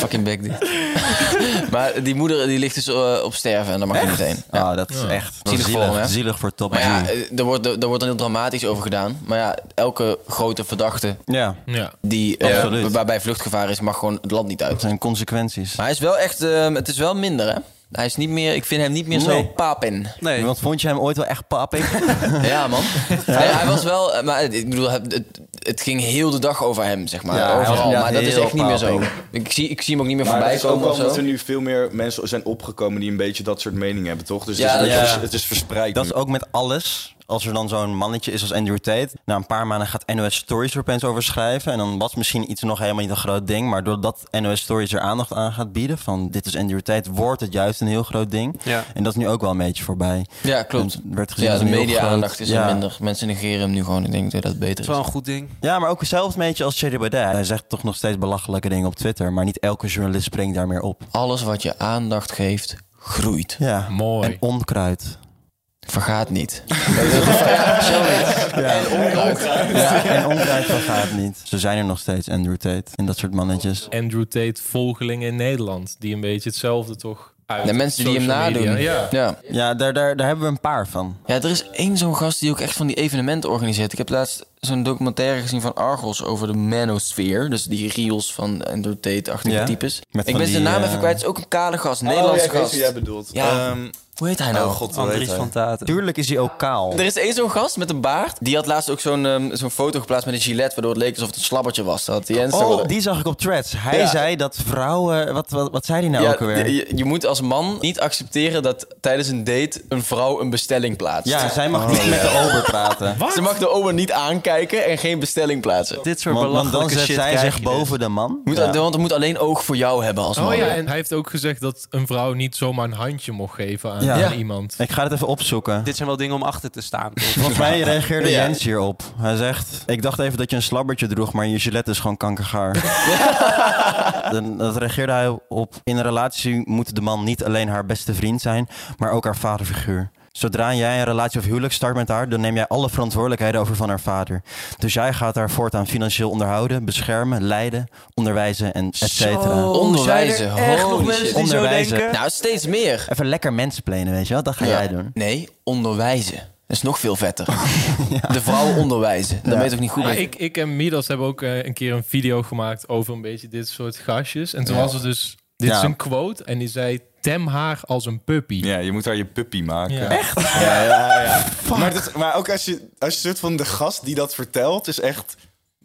Fucking back dit. maar die moeder die ligt dus eh, op sterven en dan mag je meteen. Ja. Ah, dat is echt dat is Zielig voor hem, hè? zielig voor Top Maar ja, G. eh, er wordt, er, er wordt dan heel dramatisch over gedaan. Maar ja, elke grote verdachte Ja, Ja. die, eh, Absoluut. wa- waarbij vluchtgevaar is, mag gewoon het land niet dat uit. zijn consequenties. Maar hij is wel echt, eh, het is wel minder hè. Hij is niet meer, ik vind hem niet meer zo Nee. papen. Nee, Want vond je hem ooit wel echt papi? Ja, man. Nee, hij was wel, eh, maar ik bedoel, het, het- het ging heel de dag over hem, zeg maar. Ja, hij was Overal, inderdaad maar dat is heel echt niet meer zo. paping. Ik zie, ik zie hem ook niet meer Maar dat voorbij is ook komen wel of zo. omdat er nu veel meer mensen zijn opgekomen die een beetje dat soort meningen hebben, toch? Dus Ja, het, is, ja. het is- het is verspreid. Dat nu. is ook met alles. Als er dan zo'n mannetje is als Andrew Tate. Na een paar maanden gaat NOS Stories er opeens over schrijven. En dan was misschien iets nog helemaal niet een groot ding. Maar doordat NOS Stories er aandacht aan gaat bieden. Van dit is Andrew Tate. Wordt het juist een heel groot ding. Ja. En dat is nu ook wel een beetje voorbij. Ja, klopt. Het werd gezien Ja, als de een heel media-aandacht groot- is ja. er minder. Mensen negeren hem nu gewoon. Ik denk dat dat beter is is. wel een goed ding. Ja, maar ook zelfs een beetje als Thierry Baudet. Hij zegt toch nog steeds belachelijke dingen op Twitter. Maar niet elke journalist springt daar meer op. Alles wat je aandacht geeft, groeit. Ja. Mooi. En onkruid. Vergaat niet. Ja. En onkruid vergaat niet. Ze zijn er nog steeds, Andrew Tate. En dat soort mannetjes. Andrew Tate volgelingen in Nederland. Die een beetje hetzelfde toch uit. De mensen die hem social nadoen. media. Ja. Ja. Ja. Ja, daar, daar, daar hebben we een paar van. er is één zo'n gast die ook echt van die evenementen organiseert. Ik heb laatst zo'n documentaire gezien van Argos over de manosphere. Dus die riels van Andrew Tate-achtige Ja. types. Met Ik van ben zijn die, naam eh, even kwijt. Het is ook een kale gast, Nederlandse Oh, ja, ik weet gast. wie jij bedoelt. Ja. Ehm, Hoe heet hij nou? oh god, hoe heet Andries hij? van Taten. Tuurlijk is hij ook kaal. Er is één zo'n gast met een baard. Die had laatst ook zo'n ehm, zo'n foto geplaatst met een gilet... waardoor het leek alsof het een slabbertje was. Dat had die Instagram. Oh, die zag ik op Threads. Hij Ja. zei dat vrouwen... Wat, wat, wat zei hij nou ook alweer? je- Je, je moet als man niet accepteren dat tijdens een date een vrouw een bestelling plaatst. ja, zij mag niet met de ober praten. Ze mag de oma niet aankijken en geen bestelling plaatsen. Je Dit soort Want, want dan belachelijke zet shit zij krijg zich je dus. boven de man. Moet, Ja. Want het moet alleen oog voor jou hebben als man. Oh ja, en hij heeft ook gezegd dat een vrouw niet zomaar een handje mocht geven aan, Ja. aan Ja. iemand. Ik ga het even opzoeken. Dit zijn wel dingen om achter te staan. Volgens mij reageerde Ja. Jens hierop. Hij zegt... Ik dacht even dat je een slabbertje droeg, maar je gilet is gewoon kankergaar. Dan- dat reageerde hij op... In een relatie moet de man niet alleen haar beste vriend zijn, maar ook haar vaderfiguur. Zodra jij een relatie of huwelijk start met haar, dan neem jij alle verantwoordelijkheden over van haar vader. Dus jij gaat haar voortaan financieel onderhouden, beschermen, leiden, onderwijzen en et cetera. Onderwijzen, holy shit. die zo Onderwijzen. denken? Nou, steeds meer. Even lekker mensplenen, weet je wel? Dat ga jij Ja. doen. Nee, onderwijzen. Dat is nog veel vetter. De vrouwen onderwijzen. Dat weet ik niet goed. Maar meer. ik, ik en Midas hebben ook eh, een keer een video gemaakt over een beetje dit soort gastjes. En toen was er dus, dit Ja. is een quote, en die zei, tem haar als een puppy. Ja, je moet daar je puppy maken. Ja. Echt? Ja, ja, ja. Maar, dat, maar ook als je, als je soort van de gast die dat vertelt, is echt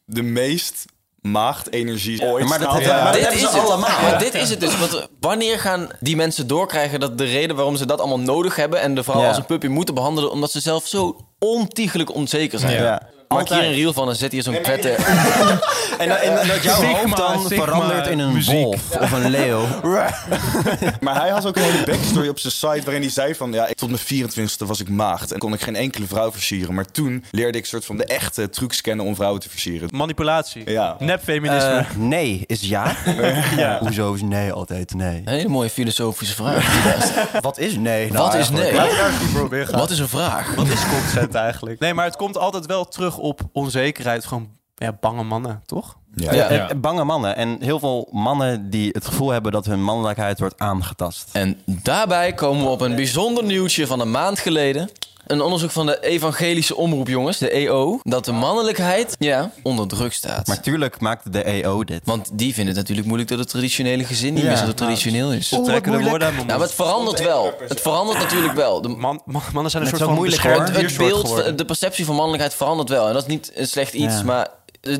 de meest maagdenergie ooit. maar dat Nou, hebben- ja. maar dat dit hebben is ze het. allemaal. Maar dit is het dus. Want eh, wanneer gaan die mensen doorkrijgen dat de reden waarom ze dat allemaal nodig hebben en de vrouw Ja. als een puppy moeten behandelen, omdat ze zelf zo ontiegelijk onzeker zijn? Ja. Ja. Maak hier een Altijd. reel van en zet hier zo'n vette... En, dat- en dat jouw Sigma, hoofd dan Sigma verandert in een muziek. wolf of een leeuw. Maar hij had ook een hele backstory op zijn site waarin hij zei van... ja, tot mijn 24e was ik maagd en kon ik geen enkele vrouw versieren. Maar toen leerde ik soort van de echte trucs kennen om vrouwen te versieren. Nou, Manipulatie. Ja. Nepfeminisme. Eh, nee is ja. Hoezo is nee altijd nee? Een hele mooie filosofische vraag. Wat is nee nou Wat is eigenlijk? nee? proberen. Wat is een vraag? Wat is consent eigenlijk? Nee, maar het komt altijd wel terug op onzekerheid. Gewoon ja, bange mannen, toch? Ja. Eh, eh, Bange mannen. En heel veel mannen die het gevoel hebben dat hun mannelijkheid wordt aangetast. En daarbij komen we op een bijzonder nieuwtje van een maand geleden. Een onderzoek van de evangelische omroep, jongens, de EO... dat de mannelijkheid ja, onder druk staat. Maar tuurlijk maakt de EO dit. Want die vinden het natuurlijk moeilijk dat het traditionele gezin niet Ja. nou, meer zo traditioneel is. Ze trekken de woorden aan Nou, maar het verandert wel. Het verandert natuurlijk wel. De, Man, man- mannen zijn een soort Het is van ook moeilijk, beschermd hoor. het diersoort beeld, eh, geworden. de perceptie van mannelijkheid verandert wel. En dat is niet een slecht iets, Ja. maar...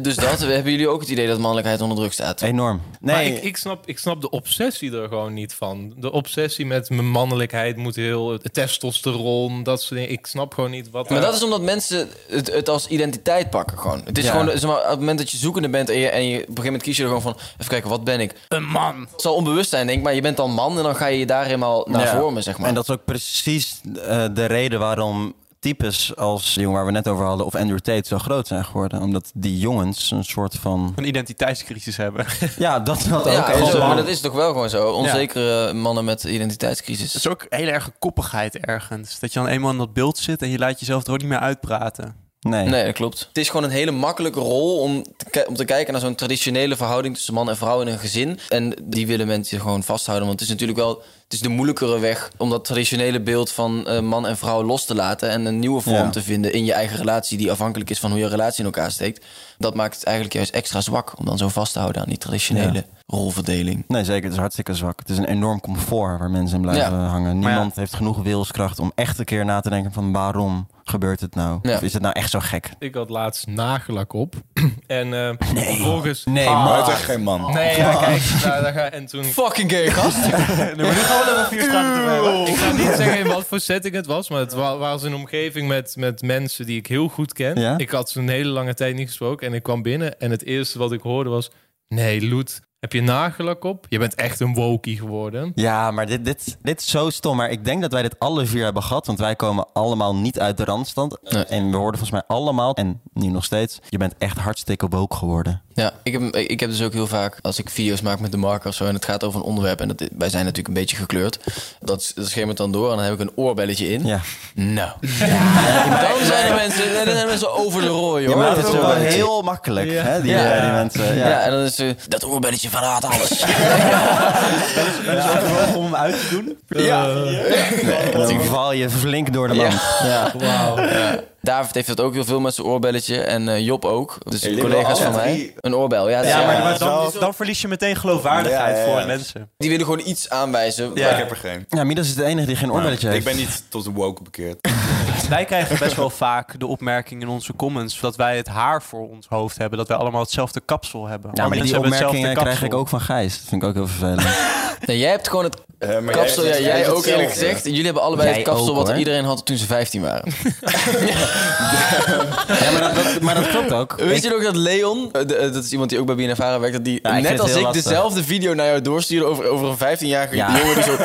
Dus dat, hebben jullie ook het idee dat mannelijkheid onder druk staat? Enorm. Maar Nee, ik, ik, snap, ik snap de obsessie er gewoon niet van. De obsessie met mijn mannelijkheid moet heel... het Testosteron, dat soort dingen. Ik snap gewoon niet wat... Maar daar- dat is omdat mensen het, het als identiteit pakken gewoon. Het is Ja. gewoon, zeg maar, op het moment dat je zoekende bent en je, en je op een gegeven moment kies je er gewoon van... Even kijken, wat ben ik? Een man. Het zal onbewust zijn, denk ik, maar je bent dan man en dan ga je je daar helemaal naar Ja. vormen, zeg maar. En dat is ook precies eh, de reden waarom types als de jongen waar we net over hadden of Andrew Tate zo groot zijn geworden. Omdat die jongens een soort van... Een identiteitscrisis hebben. Ja, dat dat ook. ja, En maar zo- maar dat is toch wel gewoon zo. Onzekere mannen met Het identiteitscrisis. is ook heel erg koppigheid ergens. Dat je dan eenmaal in dat beeld zit en je laat jezelf er ook niet meer uitpraten. Nee. Nee, dat klopt. Het is gewoon een hele makkelijke rol om te, ki- om te kijken naar zo'n traditionele verhouding tussen man en vrouw in een gezin. En die willen mensen gewoon vasthouden. Want het is natuurlijk wel het is de moeilijkere weg om dat traditionele beeld van eh, man en vrouw los te laten. En een nieuwe vorm Ja. te vinden in je eigen relatie, die afhankelijk is van hoe je relatie in elkaar steekt. Dat maakt het eigenlijk juist extra zwak om dan zo vast te houden aan die traditionele rolverdeling. Nee, zeker. Het is hartstikke zwak. Het is een enorm comfort waar mensen in blijven hangen. ja. Niemand heeft genoeg wilskracht om echt een keer na te denken van waarom gebeurt het nou? Ja. Of is het nou echt zo gek? Ik had laatst nagelak op. en eh, vervolgens... Nee, Ah. Maar het is echt geen man. Nee, ja, kijk. daar- daar ga, en toen... Fucking gay gast. maar nu gaan we level 4 vragen te hebben. Ik ga niet zeggen in wat voor setting het was, maar het wa- was een omgeving met, met mensen die ik heel goed ken. Ja? Ik had ze een hele lange tijd niet gesproken en ik kwam binnen en het eerste wat ik hoorde was... Nee, Loet, heb je nagelak op? Je bent echt een wokie geworden. Ja, maar dit, dit, dit is zo stom. Maar ik denk dat wij dit alle vier hebben gehad. Want wij komen allemaal niet uit de randstand. Nee. En we hoorden volgens mij allemaal, en nu nog steeds... je bent echt hartstikke woke geworden. Ja, ik heb, ik heb dus ook heel vaak, als ik video's maak met de marker of zo... en het gaat over een onderwerp, en dat, wij zijn natuurlijk een beetje gekleurd... dat, is- dat schermt dan door en dan heb ik een oorbelletje in. Ja, Nou. Dan zijn de mensen, dan zijn de mensen over de rooi, je hoor. maakt het zo wel oorbelletje. heel makkelijk, Ja. hè, die, eh, die mensen. Ja. Ja. en dan is eh, dat oorbelletje van haat alles. Om hem uit te doen. Eh, En dan val je flink door de mand. ja. Ja. David heeft dat ook heel veel met zijn oorbelletje en eh, Job ook. Dus jullie collega's hebben van alle mij. drie- Een oorbel, ja. Ja, dus maar, ja, maar dan, zo. dan verlies je meteen geloofwaardigheid Ja, ja, ja. voor de mensen. Die willen gewoon iets aanwijzen. Ja. Ik heb er geen. Ja, Midas is de enige die geen oorbelletje Nou, Ik heeft. ben niet tot de woke bekeerd. Eh, Wij krijgen best wel vaak de opmerking in onze comments dat wij het haar voor ons hoofd hebben. Dat wij allemaal hetzelfde kapsel hebben. Ja, maar Alle die mensen hebben hetzelfde opmerkingen krijg kapsel. ik ook van Gijs. Dat vind ik ook heel vervelend. Nee, jij hebt gewoon het Eh, maar jij kapsel, hebt ja, het- jij hebt ook hetzelfde. eerlijk gezegd. Jullie hebben allebei Jij het kapsel ook, wat hoor. iedereen had toen ze 15 waren. ja, maar dat, dat- maar dat klopt ook. Weet Ik- je nog dat Leon, eh, de- eh, dat is iemand die ook bij BNFara werkt, dat die ik vind net het als heel ik lastig. dezelfde video naar jou doorstuurde over, over een 15-jarige Ja. jongen die zo...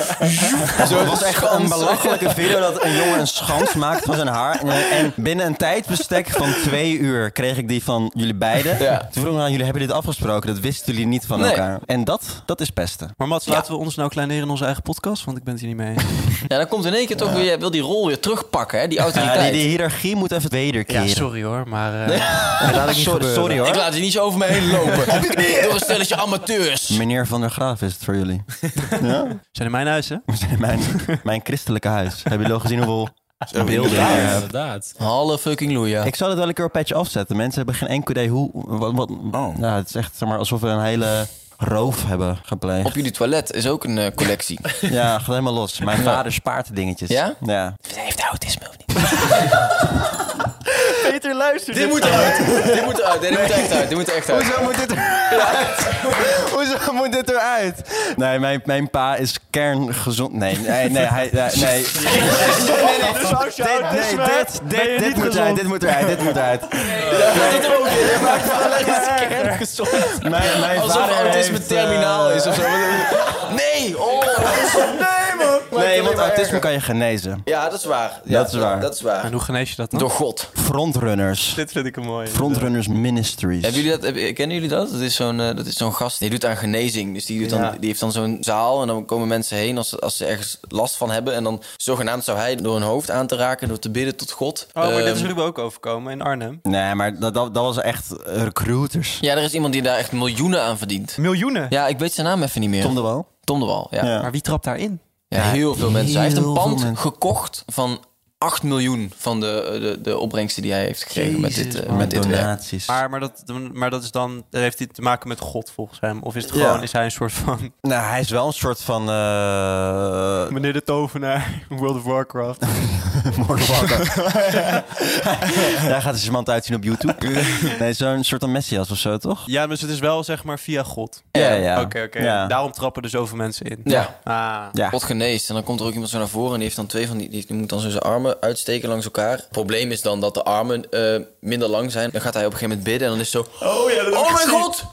zo Het was echt een belachelijke video dat een jongen een schans maakt van zijn haar. En, en binnen een tijdsbestek van twee uur kreeg ik die van jullie beiden. Ja. Toen vroeg ik aan jullie, hebben dit afgesproken? Dat wisten jullie niet van Nee. elkaar. En dat, dat is pesten. Maar Mats, laten we ons nou kleineren in onze eigen podcast, want ik ben het hier niet mee. eens. Ja, dan komt in één keer toch weer, jij wil die rol weer terugpakken, hè, die Ja, autoriteit. die, die hiërarchie moet even Ja, wederkeren. sorry hoor, maar eh, laat ik niet sorry, gebeuren. sorry Ik hoor. laat die niet zo over me heen lopen. Op je knieën. Door een stelletje amateurs. Meneer Van der Graaf is het voor jullie. Zijn in mijn huis, hè? We zijn mijn, mijn christelijke huis. Hebben jullie al gezien hoeveel beelden ik hier heb? Inderdaad. Halle fucking loeia. Ik zal het wel een keer op patch afzetten. Mensen hebben geen enkel idee hoe... Wat, wat, Oh. ja, het is echt zeg maar, alsof we een hele roof hebben gepleegd. Op jullie toilet is ook een eh, collectie. Ja, gaat helemaal los. Mijn vader spaart dingetjes. Ja? Ja. Hij heeft autisme of niet? Peter, luister. Dit moet eruit. Dit moet eruit. Nee, Dit moet echt uit. Dit moet echt uit. Hoezo moet dit eruit? Hoezo moet dit eruit? Nee, mijn, mijn pa is kerngezond. Nee, nee, nee. Hij, nee, nee. dus Dit, nee, dit, dit, dit moet eruit, dit moet eruit, dit moet eruit. Mijn, mijn Alsof vader autisme heeft, terminaal eh, is of zo. Nee, oh. Nee, want autisme kan je genezen. Ja, dat is waar. Ja, Dat is waar. Dat is waar. En hoe genees je dat dan? Door God. Frontrunners. Dit vind ik een mooie. Frontrunners Ministries. Hebben jullie dat, heb- kennen jullie dat? Dat is zo'n eh, dat is zo'n gast, die doet aan genezing. Dus die, doet dan, Ja. die heeft dan zo'n zaal en dan komen mensen heen als, als ze ergens last van hebben. En dan zogenaamd zou hij door hun hoofd aan te raken, door te bidden tot God. Oh, maar dit Ehm, is Ruben ook overkomen in Arnhem. Nee, maar dat, dat, dat was echt recruiters. Ja, er is iemand die daar echt miljoenen aan verdient. Miljoenen. Ja, ik weet zijn naam even niet meer. Tom de Wal. Tom de Wal, ja. ja. Ja. Maar wie trapt daarin? heel veel mensen. Hij heeft heel een pand veel mensen. gekocht van 8 miljoen van de, de, de opbrengsten die hij heeft gekregen met dit, eh, met dit werk. donaties. Maar, maar, dat, maar dat is dan, dat heeft hij te maken met God volgens hem. Of is het Ja. gewoon, is hij een soort van... Nou, hij is wel een soort van... eh, Meneer de tovenaar, World of Warcraft. Mortal Kombat. Daar gaat dus iemand uitzien op YouTube. Nee, zo'n soort van messias of zo, toch? Ja, dus het is wel zeg maar via God. Ja, ja. Oké, oké. Ja. Daarom trappen er zoveel mensen in. Ja. Ah. Ja. God geneest. En dan komt er ook iemand zo naar voren en die heeft dan twee van die... Die die moet dan zo zijn armen uitsteken langs elkaar. Het probleem is dan dat de armen eh, minder lang zijn. Dan gaat hij op een gegeven moment bidden en dan is het zo... Oh, ja, oh mijn god!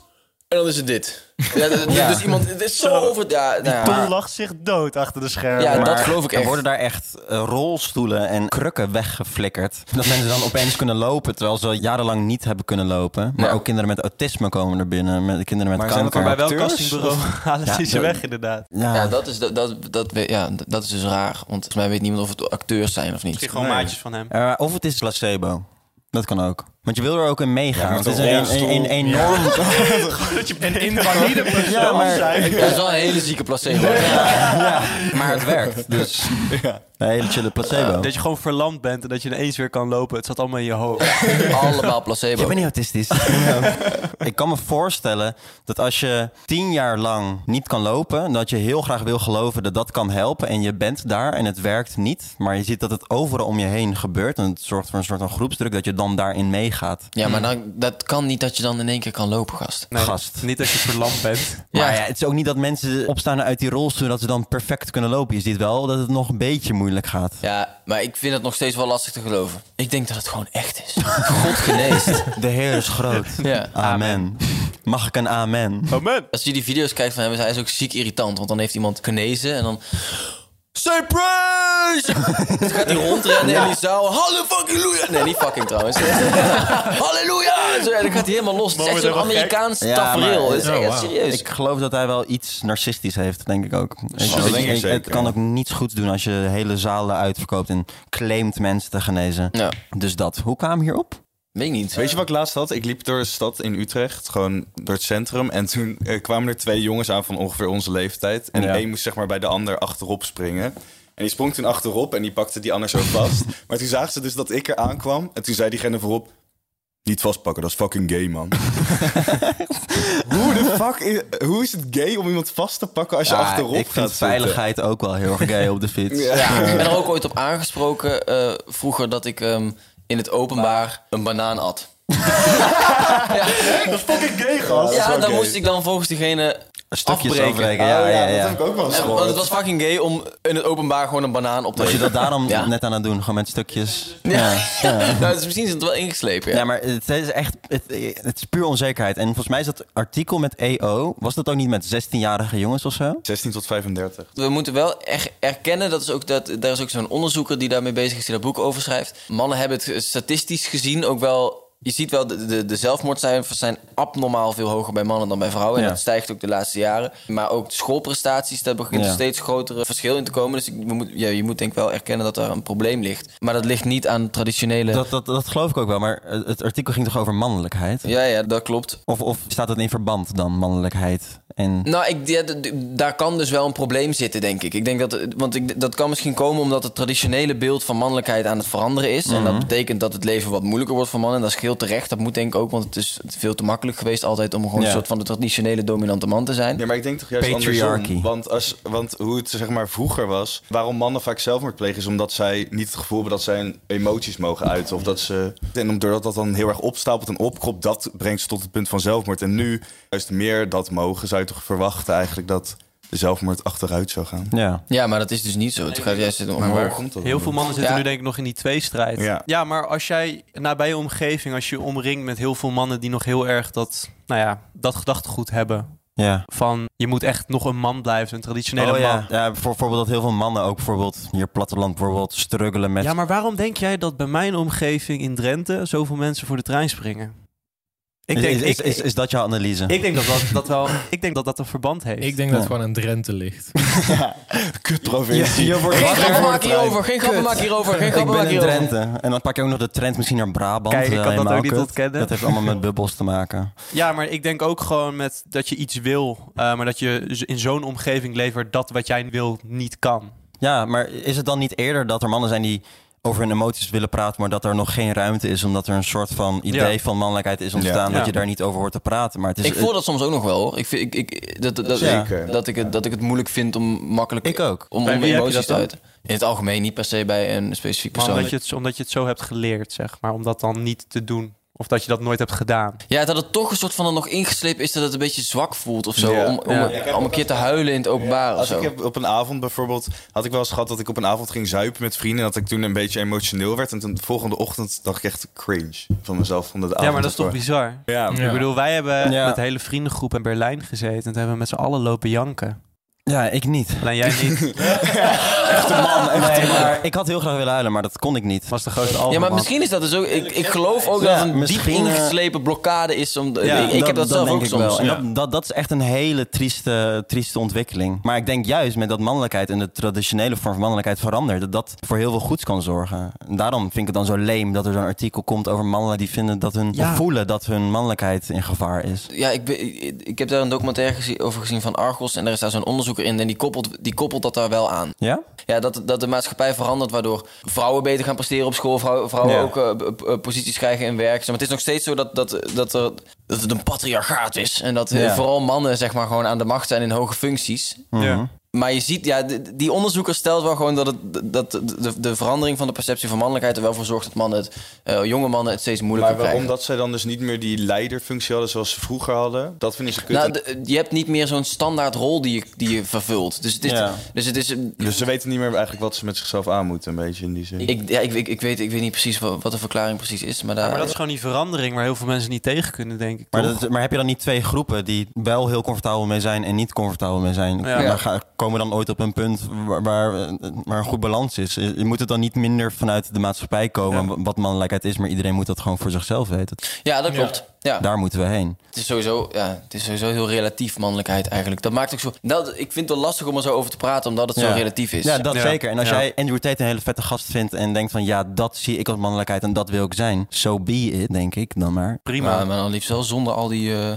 En dan is het dit. Ja, dat- Ja. Dus iemand... Het is zo over... Ja, nou ja. lacht zich dood achter de schermen. Ja, dat Maar geloof ik Er echt. worden daar echt eh, rolstoelen en krukken weggeflikkerd. Dat mensen dan opeens kunnen lopen, terwijl ze al jarenlang niet hebben kunnen lopen. Maar Ja. ook kinderen met autisme komen er binnen, met, kinderen met Maar zijn dat kanker. Maar bij welk Acteurs? castingbureau halen Ja, ze ze de- weg inderdaad? Ja, Ja, dat is, dat, dat, dat, ja, dat is dus raar. Want volgens mij weet niemand of het acteurs zijn of niet. Misschien gewoon Nee. maatjes van hem. Eh, of het is placebo. Dat kan ook. Want je wil er ook in meegaan. Ja, want met het is een een, rolstoel. een- een enorm... Een invalide persoon. Ja, maar, Dat is wel een hele zieke placebo. Maar het werkt. Eh, dus dus, een hele chille placebo. Dat je gewoon verlamd bent en dat je ineens weer kan lopen. Het zat allemaal in je hoofd. Allemaal placebo. Ik ben niet autistisch. ik kan me voorstellen dat als je tien jaar lang niet kan lopen, dat je heel graag wil geloven dat dat kan helpen. En je bent daar en het werkt niet. Maar je ziet dat het overal om je heen gebeurt. En het zorgt voor een soort van groepsdruk dat je dan daarin meegaat. Ja, maar dan, dat kan niet dat je dan in één keer kan lopen, gast. Nee, Gast. Niet dat je verlamd bent. Ja. Maar ja, het is ook niet dat mensen opstaan uit die rolstoel dat ze dan perfect kunnen lopen. Je ziet wel dat het nog een beetje moeilijk gaat. Ja, maar ik vind het nog steeds wel lastig te geloven. Ik denk dat het gewoon echt is. God geneest. De Heer is groot. Ja. Amen. Mag ik een amen? Amen. Als je die video's kijkt van hem, is hij is ook ziek irritant. Want dan heeft iemand genezen en dan... Surprise! dan gaat hij rondrennen in die zaal. Halleluja! Nee, niet fucking trouwens. Halleluja! Zo, En dan gaat hij helemaal los. Het is echt zo'n Amerikaans Ja, tafereel. maar- Het is echt Oh, wauw. serieus. Ik geloof dat hij wel iets narcistisch heeft, denk ik ook. Ik- dat ik- denk ik ik- het zeker, kan ja. ook niets goeds doen als je hele zalen uitverkoopt en claimt mensen te genezen. Ja, Dus dat. Hoe kwam hierop? weet ik niet. Weet je wat ik laatst had? Ik liep door de stad in Utrecht, gewoon door het centrum. En toen eh, kwamen er twee jongens aan van ongeveer onze leeftijd. En Ja. één moest zeg maar bij de ander achterop springen. En die sprong toen achterop en die pakte die ander zo vast. maar toen zagen ze dus dat ik er aankwam. En toen zei diegene voorop... Niet vastpakken, dat is fucking gay, man. hoe de fuck... i- hoe is het gay om iemand vast te pakken als je Ja, achterop ik vind gaat zitten? veiligheid ook wel heel erg gay op de fiets. Ja, ik ben er ook ooit op aangesproken eh, vroeger dat ik ehm, in het openbaar een banaan at. ja, Fucking gay, gast. ja Dat is wel dan gay. moest ik dan volgens diegene Stukjes afbreken. afbreken. Oh Ja, ja, dat ja. heb ik ook wel eens En- want het gehoord. was fucking gay om in het openbaar gewoon een banaan op te Was je eten. dat daarom Ja. net aan het doen? Gewoon met stukjes. Ja. Ja. Ja. Nou, dus misschien is het wel ingeslepen. Ja. Ja, maar het is echt, het, het is puur onzekerheid. En volgens mij is dat artikel met EO, was dat ook niet met 16-jarige jongens of zo? 16 tot 35. We moeten wel er- erkennen, dat is ook dat, daar is ook zo'n onderzoeker die daarmee bezig is, die daar boek over schrijft. Mannen hebben het statistisch gezien ook wel. Je ziet wel, de, de, de zelfmoordcijfers zijn abnormaal veel hoger bij mannen dan bij vrouwen. En Ja. dat stijgt ook de laatste jaren. Maar ook de schoolprestaties, daar begint Ja. een steeds grotere verschil in te komen. Dus ik, we moet, ja, je moet denk ik wel erkennen dat daar een probleem ligt. Maar dat ligt niet aan traditionele... Dat, dat, dat geloof ik ook wel, maar het artikel ging toch over mannelijkheid? Ja, ja, dat klopt. Of, of staat het in verband dan, mannelijkheid? En Nou, ik, ja, d- d- daar kan dus wel een probleem zitten, denk ik. ik denk dat, want ik, dat kan misschien komen omdat het traditionele beeld van mannelijkheid aan het veranderen is. En dat betekent dat het leven wat moeilijker wordt voor mannen. En dat is heel terecht. Dat moet denk ik ook, want het is veel te makkelijk geweest altijd om gewoon Ja. een soort van de traditionele dominante man te zijn. Ja, maar ik denk toch juist Patriarchy. andersom. Want, als, want hoe het zeg maar vroeger was, waarom mannen vaak zelfmoord plegen, is omdat zij niet het gevoel hebben dat zij hun emoties mogen uiten. Of dat ze, en om- doordat dat dan heel erg opstapelt en opkropt, dat brengt ze tot het punt van zelfmoord. En nu, juist meer dat mogen, zou je toch verwachten eigenlijk dat de zelfmoord achteruit zou gaan. ja. Ja, maar dat is dus niet zo. Het gaat juist omhoog. komt dat Heel veel mannen zitten Ja. nu denk ik nog in die tweestrijd. Ja. maar als jij nabij je omgeving, als je je omringt met heel veel mannen die nog heel erg dat, nou ja, dat gedachtegoed hebben. Ja. Van je moet echt nog een man blijven, een traditionele Oh, ja. man. ja, voor- bijvoorbeeld dat heel veel mannen ook bijvoorbeeld hier platteland bijvoorbeeld struggelen met... Ja, maar waarom denk jij dat bij mijn omgeving in Drenthe zoveel mensen voor de trein springen? Ik Is- denk, is, is, ik, is, is dat jouw analyse? ik denk dat dat, dat wel, ik denk dat dat een verband heeft. Ik denk dat het gewoon een Drenthe ligt. Kut provincie. Geen grappen maken hierover, geen grappen maken hierover, geen Ik grappen ben maken in hierover. Drenthe. En dan pak je ook nog de trend misschien naar Brabant. Kijk, ik eh, kan dat helemaal ook niet kut. ontkennen. Dat heeft allemaal met bubbels te maken. Ja, maar ik denk ook gewoon met dat je iets wil, eh, maar dat je z- in zo'n omgeving levert dat wat jij wil niet kan. Ja, maar is het dan niet eerder dat er mannen zijn die over hun emoties willen praten, maar dat er nog geen ruimte is, omdat er een soort van idee Ja. van mannelijkheid is ontstaan, Ja. dat je Ja. daar niet over hoort te praten. Maar het is, Ik voel dat soms ook nog wel hoor. Ik vind, ik, ik, dat, dat, dat, Zeker. dat, ik het, dat ik het moeilijk vind om makkelijk Ik ook. om, Bij om wie heb je emoties dat te dan? uiten. In het algemeen, niet per se bij een specifiek Maar persoon. omdat je, het, omdat je het zo hebt geleerd, zeg maar. Om dat dan niet te doen. Of dat je dat nooit hebt gedaan. Ja, dat het toch een soort van er nog ingeslepen is dat het een beetje zwak voelt of zo. Ja. Om, om, Ja. om een keer te huilen in het openbaar of Als zo. ik heb op een avond bijvoorbeeld, had ik wel eens gehad dat ik op een avond ging zuipen met vrienden. En dat ik toen een beetje emotioneel werd. En toen de volgende ochtend dacht ik echt cringe van mezelf. Van de avond Oh, Ja, maar dat is toch ervoor. bizar? Ja, Ja. Ik bedoel, wij hebben Ja. met de hele vriendengroep in Berlijn gezeten. En toen hebben we met z'n allen lopen janken. Ja, ik niet. Alleen jij niet. Echte man, echte maar Ik had heel graag willen huilen, maar dat kon ik niet. Was de grootste Ja, maar misschien is dat dus ook... Ik, ik geloof ook dat het een diep misschien, eh, ingeslepen blokkade is. Om, ik, ik heb dat, zelf denk ook ik soms. wel. En ja. dat, dat, dat is echt een hele trieste, trieste ontwikkeling. Maar ik denk juist met dat mannelijkheid en de traditionele vorm van mannelijkheid verandert, dat dat voor heel veel goeds kan zorgen. En daarom vind ik het dan zo leem dat er zo'n artikel komt over mannen die vinden dat hun, of voelen dat hun mannelijkheid in gevaar is. Ja, ik, be- ik, ik heb daar een documentaire gezien, over gezien van Argos. En daar is daar zo'n onderzoeker in. En die koppelt, die koppelt dat daar wel aan. Ja? Ja, dat, dat de maatschappij verandert, waardoor vrouwen beter gaan presteren op school. Vrouwen, vrouwen Ja. ook eh, p- p- posities krijgen in werk. Maar het is nog steeds zo dat, dat, dat, er, dat het een patriarchaat is. En dat eh, Ja. vooral mannen zeg maar, gewoon aan de macht zijn in hoge functies. Mhm. Ja. Maar je ziet, ja, d- die onderzoeker stelt wel gewoon dat, het, dat de, de verandering van de perceptie van mannelijkheid er wel voor zorgt dat mannen het, eh, jonge mannen het steeds moeilijker Maar waarom krijgen. dat zij dan dus niet meer die leiderfunctie hadden zoals ze vroeger hadden, dat vinden ze kut. Nou, En- de- je hebt niet meer zo'n standaard rol die je, die je vervult. Dus het is, Ja. dus het is dus ze weten niet meer eigenlijk wat ze met zichzelf aan moeten, een beetje in die zin. ik, ja, ik, ik, ik weet, ik weet niet precies wat, wat de verklaring precies is. Maar, daar, Maar dat is gewoon die verandering waar heel veel mensen niet tegen kunnen, denk ik. Maar, toch? dat- maar heb je dan niet twee groepen die wel heel comfortabel mee zijn en niet comfortabel mee zijn? Ja. Maar ga- komen we dan ooit op een punt waar, waar, waar een goed balans is? Je moet het dan niet minder vanuit de maatschappij komen wat mannelijkheid is, maar iedereen moet dat gewoon voor zichzelf weten. Ja, dat klopt. Ja. Daar moeten we heen. Het, is sowieso, ja, het is sowieso heel relatief mannelijkheid eigenlijk. Dat maakt ook zo. Dat, ik vind het wel lastig om er zo over te praten, omdat het zo Ja. relatief is. Ja, dat Ja. zeker. En als Ja. jij Andrew Tate een hele vette gast vindt en denkt van ja, dat zie ik als mannelijkheid en dat wil ik zijn. So be it, denk ik dan maar. Prima. maar, maar dan liefst wel zonder al die eh,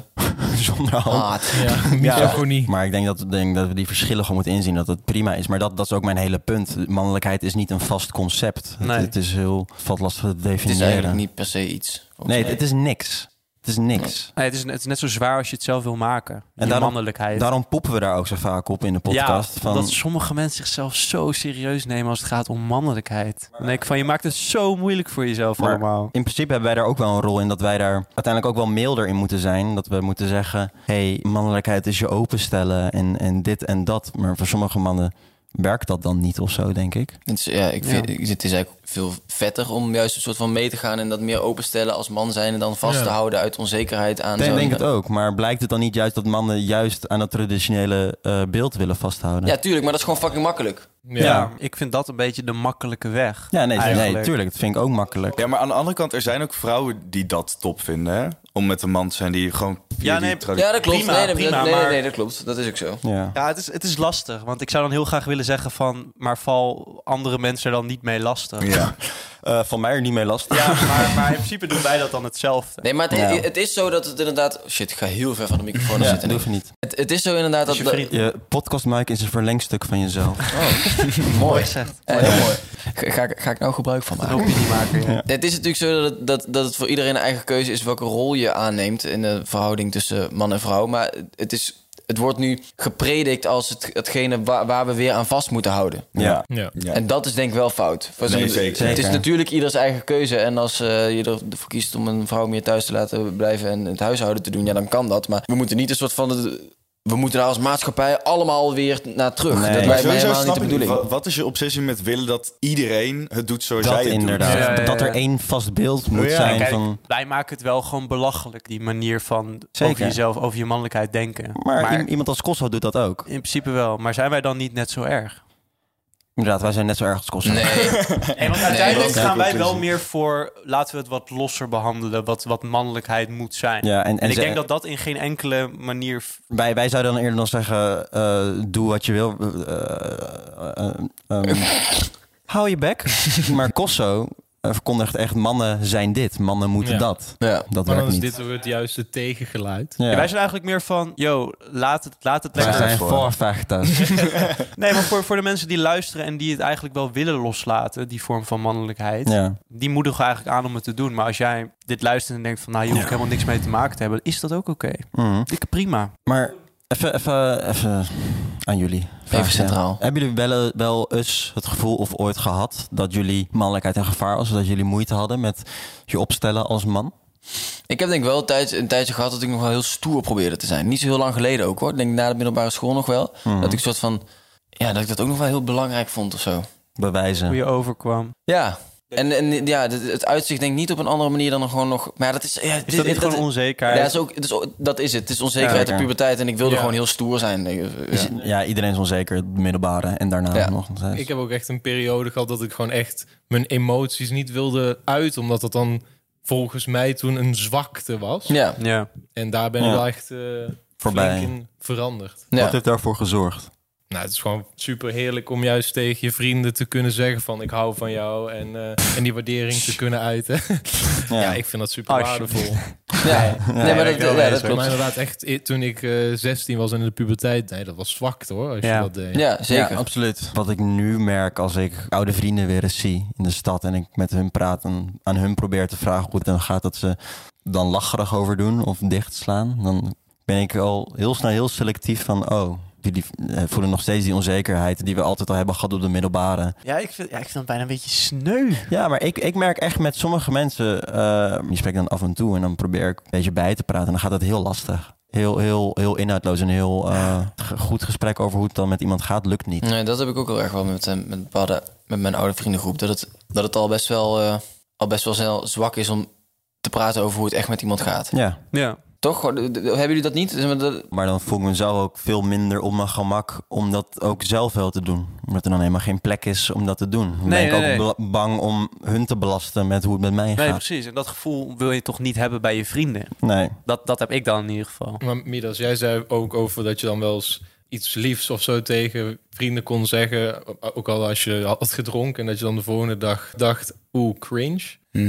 Zonder al. haat. Ja, misofonie. Maar ik denk dat, denk dat we die verschillen gewoon moeten inzien dat het prima is. Maar dat, dat is ook mijn hele punt. Mannelijkheid is niet een vast concept. Het- Nee. Het, is heel valt lastig te Het definiëren. is eigenlijk niet per se iets. nee, het, het is niks. Het is niks. Nee, het, is, het is net zo zwaar als je het zelf wil maken. En daarom- mannelijkheid. Daarom poepen we daar ook zo vaak op in de podcast. Ja, van, dat sommige mensen zichzelf zo serieus nemen als het gaat om mannelijkheid. Dan denk ik van, je maakt het zo moeilijk voor jezelf Maar- allemaal. In principe hebben wij daar ook wel een rol in dat wij daar uiteindelijk ook wel milder in moeten zijn. Dat we moeten zeggen, hey, mannelijkheid is je openstellen en, en dit en dat. Maar voor sommige mannen werkt dat dan niet of zo, denk ik. Het is, ja, ik vind, ik- Het is eigenlijk veel vetter om juist een soort van mee te gaan en dat meer openstellen als man zijn en dan vast Ja. te houden uit onzekerheid aan. Ik zo'n- denk, het ook, maar blijkt het dan niet juist dat mannen juist aan dat traditionele eh, beeld willen vasthouden? Ja, tuurlijk, maar dat is gewoon fucking makkelijk. Ja. Ja. ik vind dat een beetje de makkelijke weg. Ja, nee, nee, Eigenlijk. tuurlijk. Dat vind ik ook makkelijk. Ja, maar aan de andere kant, er zijn ook vrouwen die dat top vinden, hè? Om met een man te zijn die gewoon... via Ja, die nee, tradi- Ja, dat klopt. Prima, nee, dat, prima, dat- nee, nee, maar- nee, dat klopt. Dat is ook zo. Ja. Ja, het is, het is lastig. Want ik zou dan heel graag willen zeggen van... maar val andere mensen er dan niet mee lastig. Ja, Ja. Eh, van mij er niet mee lastig. maar, maar in principe doen wij dat dan hetzelfde. Nee, maar het, Ja. het is zo dat het inderdaad. Shit, ik ga heel ver van de microfoon Ja, zitten. dat hoef je niet. Het, het is zo inderdaad dat. je dat- vriend. Je podcastmic is een verlengstuk van jezelf. Mooi gezegd. Eh, heel mooi. Ga, ga, ik- ga ik nou gebruik van maken? Opiniemaker, ja. Het is natuurlijk zo dat het, dat, dat het voor iedereen een eigen keuze is welke rol je aanneemt in de verhouding tussen man en vrouw. Maar het, is, het wordt nu gepredikt als het, hetgene waar, waar we weer aan vast moeten houden. Ja. Ja. Ja. En dat is denk ik wel fout. Voor Nee, zo'n- zeker. Het is Zeker. natuurlijk ieders eigen keuze. En als eh, je ervoor kiest om een vrouw meer thuis te laten blijven en het huishouden te doen, ja, dan kan dat. Maar we moeten niet een soort van. we moeten daar als maatschappij allemaal weer naar terug. Nee. Dat Maar lijkt mij helemaal niet de ik niet, bedoeling. wa- Wat is je obsessie met willen dat iedereen het doet zoals Dat jij het inderdaad. Ja, ja, ja. Dat er één vast beeld moet Ja, zijn Kijk, van... wij maken het wel gewoon belachelijk. Die manier van Zeker. over jezelf, over je mannelijkheid denken. Maar, i- iemand als Kosso doet dat ook. in principe wel. Maar zijn wij dan niet net zo erg? Inderdaad, wij zijn net zo erg als Kosso. Nee. Nee, want uiteindelijk dat is gaan de wij wel dus- conclusie. meer voor... laten we het wat losser behandelen. Wat, wat mannelijkheid moet zijn. Ja, en, en, En, ik ze- denk dat dat in geen enkele manier... f- wij, wij zouden dan eerder nog zeggen, eh, doe wat je wil. eh, eh, eh, ehm, hou je bek. maar Kosso eh, verkondigt echt, mannen zijn dit, mannen moeten Ja. dat. Ja. Dat Maar dan werkt is niet. dit weer het juiste tegengeluid. Ja. Ja, wij zijn eigenlijk meer van... yo, laat het, laat het Wij lekker... zijn voor. voorvechters. Nee, maar voor, voor de mensen die luisteren en die het eigenlijk wel willen loslaten, die vorm van mannelijkheid, ja. die moedigen eigenlijk aan om het te doen. Maar als jij dit luistert en denkt van, nou, hier hoef ik helemaal niks mee te maken te hebben, is dat ook oké? Mhm. Ik prima. Maar even, even, even aan jullie. Vraag, Even centraal. ja. Hebben jullie wel, wel eens het gevoel of ooit gehad dat jullie mannelijkheid in gevaar was? Of dat jullie moeite hadden met je opstellen als man? Ik heb denk ik wel een tijdje, een tijdje gehad dat ik nog wel heel stoer probeerde te zijn. Niet zo heel lang geleden ook hoor. Ik denk na de middelbare school nog wel. Dat ik een soort van. Ja, dat ik dat ook nog wel heel belangrijk vond of zo. Bewijzen. Hoe je overkwam. Ja. En, en ja, het, het uitzicht denk ik niet op een andere manier dan gewoon nog... Maar ja, dat is... Ja, Is dat niet gewoon Ja, onzekerheid? dat is, ook, dat, is, ook- dat is het. Het is onzekerheid Ja, de oké. puberteit. En ik wilde Ja. gewoon heel stoer zijn. Ik- Ja. Ja, iedereen is onzeker, het middelbare en daarna Ja. nog. Dat is- Ik heb ook echt een periode gehad dat ik gewoon echt mijn emoties niet wilde uit. Omdat dat dan volgens mij toen een zwakte was. Ja. Ja. En daar ben ik Ja. wel echt eh Voorbij. flink in veranderd. Ja. Wat heeft daarvoor gezorgd? Nou, het is gewoon super heerlijk om juist tegen je vrienden te kunnen zeggen van ik hou van jou. En, eh, en die waardering te kunnen uiten. Ja. Ja, ik vind dat super Als je- waardevol. Ja. Nee, maar dat, ja, dat Maar klopt. inderdaad, echt i- toen ik eh, 16 was en in de puberteit, nee, dat was zwakte hoor. Als Ja. je dat deed. Ja, zeker. Ja, absoluut. Wat ik nu merk als ik oude vrienden weer eens zie in de stad en ik met hun praat en aan hun probeer te vragen hoe het dan gaat, dat ze dan lacherig over doen of dichtslaan, dan ben ik al heel snel heel selectief van, oh, jullie eh, voelen nog steeds die onzekerheid die we altijd al hebben gehad op de middelbare. Ja, ik vind, ja, ik vind dat bijna een beetje sneu. Ja, maar ik, ik merk echt met sommige mensen, eh die spreek ik dan af en toe en dan probeer ik een beetje bij te praten en dan gaat dat heel lastig. Heel, heel, heel inhoudloos en heel eh, ge- goed gesprek over hoe het dan met iemand gaat, lukt niet. Nee, dat heb ik ook heel erg wel met, eh, met, bepaalde, met mijn oude vriendengroep. Dat het, dat het al best wel, eh, al best wel snel zwak is om te praten over hoe het echt met iemand gaat. Ja. Ja. Toch? Gewoon, d- d- Hebben jullie dat niet? Zeg maar, dat- Maar dan voel ik mezelf ook veel minder op mijn gemak om dat ook zelf wel te doen. Omdat er dan helemaal geen plek is om dat te doen. Dan Nee, ben ik ook nee, nee. bela- bang om hun te belasten met hoe het met mij Nee, gaat. precies. En dat gevoel wil je toch niet hebben bij je vrienden? Nee. Dat, dat heb ik dan in ieder geval. Maar Midas, jij zei ook over dat je dan wel eens iets liefs of zo tegen vrienden kon zeggen. Ook al als je had gedronken en dat je dan de volgende dag dacht, oeh, cringe. Mhm.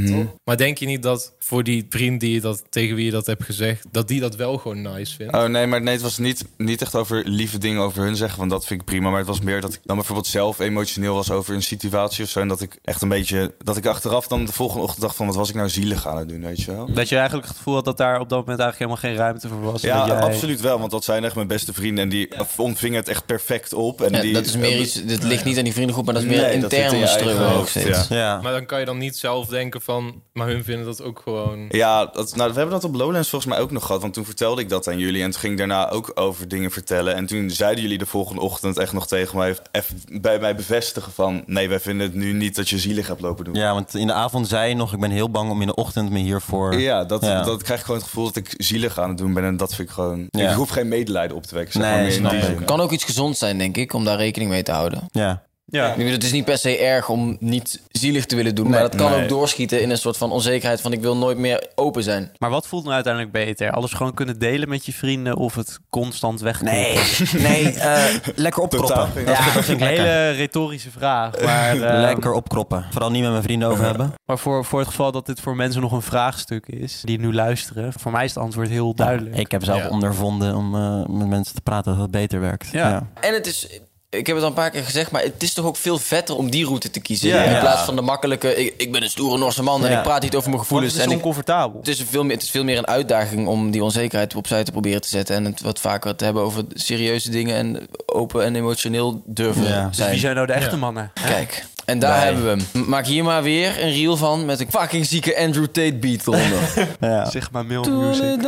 Maar denk je niet dat voor die vriend die je dat, tegen wie je dat hebt gezegd, dat die dat wel gewoon nice vindt? Oh nee, maar nee, het was niet, niet echt over lieve dingen over hun zeggen, want dat vind ik prima. Maar het was meer dat ik dan bijvoorbeeld zelf emotioneel was over een situatie of zo. En dat ik echt een beetje, dat ik achteraf dan de volgende ochtend dacht van, wat was ik nou zielig aan het doen, weet je wel? Dat je eigenlijk het gevoel had dat daar op dat moment eigenlijk helemaal geen ruimte voor was. Ja, Dat jij- absoluut wel, want dat zijn echt mijn beste vrienden en die ontvingen het echt perfect op. En ja, die, eh, dat is meer iets, dit ligt niet aan die vriendengroep, maar dat is meer Nee, dat zit in intern je eigen struggle nog hoofd, steeds. ja. Ja. Maar dan kan je dan niet zelf denken van, maar hun vinden dat ook gewoon... Ja, dat, nou, we hebben dat op Lowlands volgens mij ook nog gehad. Want toen vertelde ik dat aan jullie. En toen ging ik daarna ook over dingen vertellen. En toen zeiden jullie de volgende ochtend echt nog tegen mij... even bij mij bevestigen van... nee, wij vinden het nu niet dat je zielig hebt lopen doen. ja, want in de avond zei je nog, ik ben heel bang om in de ochtend me hiervoor... Ja, dat, Ja. dat krijg ik gewoon het gevoel dat ik zielig aan het doen ben. En dat vind ik gewoon... Ja. Ik hoef geen medelijden op te wekken. Zeg Nee, maar, meer in snap die ik. zin. Kan ook iets gezond zijn, denk ik, om daar rekening mee te houden. Ja. Ja. Ik bedoel, Het is niet per se erg om niet zielig te willen doen, maar dat kan nee. ook doorschieten in een soort van onzekerheid van ik wil nooit meer open zijn. Maar wat voelt nou uiteindelijk beter? Alles gewoon kunnen delen met je vrienden of het constant wegkomen? Nee, nee eh, lekker Totaal. opkroppen. Ja, dat vind vind ik een lekker. hele retorische vraag. Maar, eh, Lekker opkroppen. Vooral niet met mijn vrienden over hebben. maar voor, voor het geval dat dit voor mensen nog een vraagstuk is, die nu luisteren, voor mij is het antwoord heel duidelijk. Ik heb zelf Ja. ondervonden om eh, met mensen te praten dat het beter werkt. Ja. En het is, ik heb het al een paar keer gezegd, maar het is toch ook veel vetter om die route te kiezen. Ja. in Ja. plaats van de makkelijke, ik, ik ben een stoere Norse man en Ja. ik praat niet over mijn Want gevoelens. het Dus en is ik- oncomfortabel. het, is een veel meer, het is veel meer een uitdaging om die onzekerheid opzij te proberen te zetten. En het wat vaker te hebben over serieuze dingen en open en emotioneel durven Ja. Dus zijn. wie zijn nou de echte Ja. mannen? Kijk, en daar Nee. hebben we hem. Maak hier maar weer een reel van met een fucking zieke Andrew Tate beat eronder. Ja. Zeg maar male music.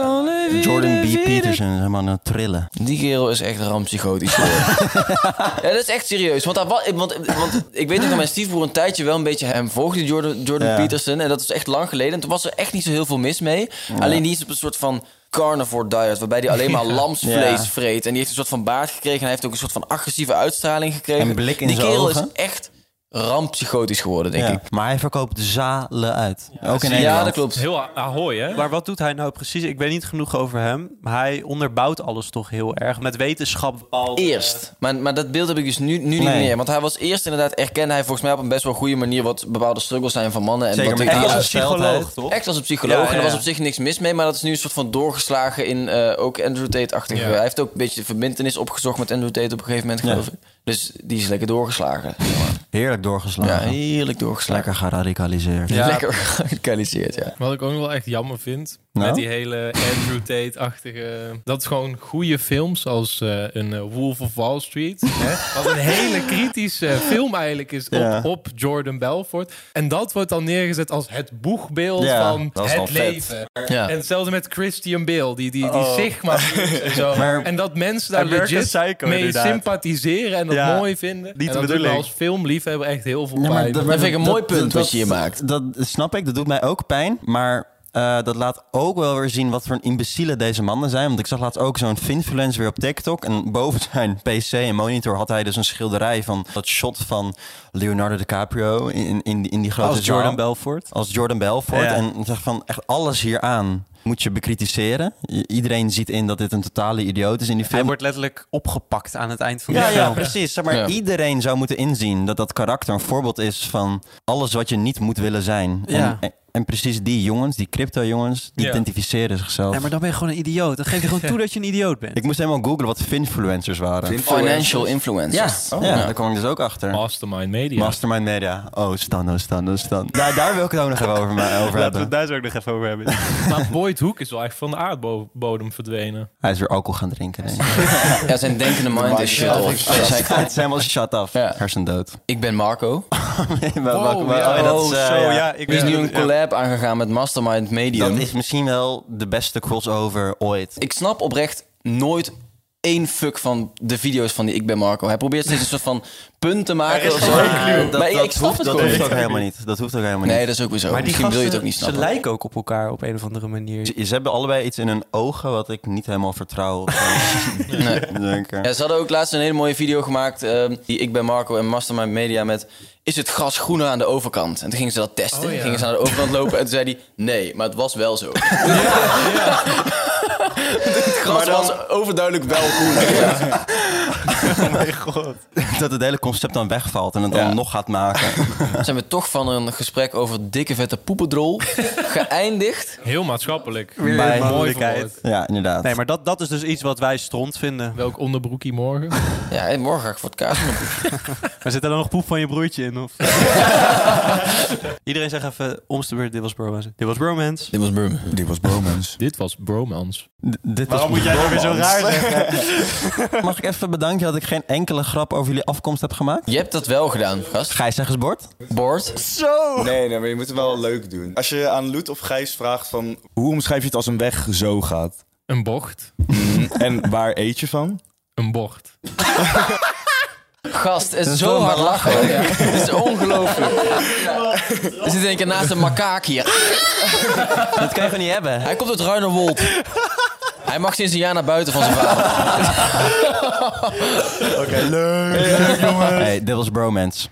Jordan B. Peterson, helemaal aan het trillen. Die kerel is echt rampsychotisch geworden. ja, dat is echt serieus. Want, daar wa- want, want ik weet nog dat mijn stiefbroer een tijdje wel een beetje hem volgde, Jordan, Jordan Ja. Peterson. En dat is echt lang geleden. En toen was er echt niet zo heel veel mis mee. Alleen die is op een soort van carnivore diet, waarbij hij alleen maar lamsvlees Ja. vreet. En die heeft een soort van baard gekregen. En hij heeft ook een soort van agressieve uitstraling gekregen. En blik in die zijn kerel ogen. is echt rampsychotisch geworden, denk Ja. ik. Maar hij verkoopt zalen uit. Ook in Ja, Nederland. dat klopt. Heel a- ahoy, hè? Maar wat doet hij nou precies? Ik weet niet genoeg over hem. Maar hij onderbouwt alles toch heel erg. Met wetenschap bepaald. Eerst. Maar, maar dat beeld heb ik dus nu, nu niet Nee. meer. Want hij was eerst inderdaad, erkende hij volgens mij op een best wel goede manier wat bepaalde struggles zijn van mannen. En Zeker wat met ik Echt niet- als een Ongesteldheid. psycholoog, toch? Echt als een psycholoog. Ja, En ja, er was ja. op zich niks mis mee. Maar dat is nu een soort van doorgeslagen in eh, ook Andrew Tate-achtige. Ja. Hij heeft ook een beetje de verbindenis opgezocht met Andrew Tate op een gegeven moment, Ja. geloof ik. Dus die is lekker doorgeslagen. Heerlijk Ja, doorgeslagen. heerlijk doorgeslagen. Lekker geradicaliseerd. Ja. Lekker geradicaliseerd, ja. Wat ik ook nog wel echt jammer vind Nou? met die hele Andrew Tate-achtige. Dat gewoon goede films als eh, een eh, Wolf of Wall Street. hè, wat een hele kritische film eigenlijk is op, Ja. op Jordan Belfort. En dat wordt dan neergezet als het boegbeeld Ja, van dat is wel het vet. leven. ja. En hetzelfde met Christian Bale, die, die, die Sigma. En, zo. Maar- en dat mensen daar American legit Psycho, mee inderdaad. sympathiseren en dat Ja, mooi vinden. de en dat doet me bedoeling. als filmliefhebber echt heel veel Ja, pijn. dat- vind ik een mooi punt wat dat- je hier maakt. Dat snap ik, dat doet mij ook pijn. Maar eh, dat laat ook wel weer zien wat voor een imbeciele deze mannen zijn. Want ik zag laatst ook zo'n finfluencer weer op TikTok. En boven zijn PC en monitor had hij dus een schilderij van dat shot van Leonardo DiCaprio in, in, in die grote Als Jordan zaal. Belfort. Als Jordan Belfort. Ja. En zeg van echt alles hieraan moet je bekritiseren. I- Iedereen ziet in dat dit een totale idioot is in die Hij film. wordt letterlijk opgepakt aan het eind van de Ja, ja, film. precies. Zeg maar Ja. iedereen zou moeten inzien dat dat karakter een voorbeeld is van alles wat je niet moet willen zijn. Ja. En, en precies die jongens, die crypto-jongens, die Ja. identificeren zichzelf. Ja, maar dan ben je gewoon een idioot. Dan geef je gewoon toe dat je een idioot bent. Ik moest helemaal googlen wat finfluencers waren. Financial influencers. ja, daar kwam ik dus ook achter. Mastermind Media. Mastermind Media. Oh, Stan, oh, Stan, oh, Stan. Daar, daar wil ik het ook nog even over, maar over hebben. daar zo ook nog even over hebben. maar Boyd Hoek is wel echt van de aardbodem verdwenen. Hij is weer alcohol gaan drinken, denk ik. Ja. zijn denkende mind is shut off. Ja, zei ik al. Het is helemaal shut off. Ja. Hersendood. Ik ben Marco. Nee, maar- maar- Oh, maar- ja. oh, dat is, eh, ja. ik Er is weet nu niet een collab aangegaan met Mastermind Dat Medium. is misschien wel de beste crossover ooit. Ik snap oprecht nooit één fuck van de video's van die Ik ben Marco. Hij probeert steeds een soort van punt te maken of zo. dat, Maar ik, dat ik snap hoeft, het dat gewoon hoeft niet. ook helemaal niet. Dat hoeft ook helemaal Nee, niet. dat is ook weer zo. Maar die Misschien wil je het ook niet gasten, snappen. ze lijken ook op elkaar op een of andere manier. Ze, ze hebben allebei iets in hun ogen wat ik niet helemaal vertrouw. Nee. Denk er. Ja, ze hadden ook laatst een hele mooie video gemaakt. ehm, die ik ben Marco en Mastermind Media met. Is het gas groener aan de overkant? En toen gingen ze dat testen. Oh, ja. Gingen ze naar de overkant lopen en toen zei hij: Nee, maar het was wel zo. het gas was overduidelijk wel groener. Dat het hele concept dan wegvalt en het dan Ja. nog gaat maken. Zijn we toch van een gesprek over dikke vette poependrol geëindigd? Heel maatschappelijk. Bij Mooi moeilijkheid. verwoord. Ja, inderdaad. Nee, maar dat, dat is dus iets wat wij stront vinden. Welk onderbroekie morgen? Ja, en morgen ga ik voor het kaas. Maar zit er dan nog poep van je broertje in? Of? Iedereen zegt even, om de beurt, dit was bromance. Dit was bromance. Dit was Burma. Dit was Bromans. Dit was Bromance. D- dit Waarom was moet jij dat weer zo raar zeggen? Mag ik even bedanken dat ik geen enkele grap over jullie afkomst heb gemaakt? Je hebt dat wel gedaan, gast. Gijs zeg eens bord. Boord. Nee, nee, maar je moet het wel leuk doen. Als je aan Loet of Gijs vraagt van... Hoe omschrijf je het als een weg zo gaat? Een bocht. en waar eet je van? Een bocht. Gast, het is is zo wel hard maar lachen. hoor. Het is ongelooflijk. Er zit in één keer naast een makaak hier. Dat kan je gewoon niet hebben. Hij komt uit Ruinerwold. Hij mag sinds een jaar naar buiten van zijn vader. Hey, dit was bromance.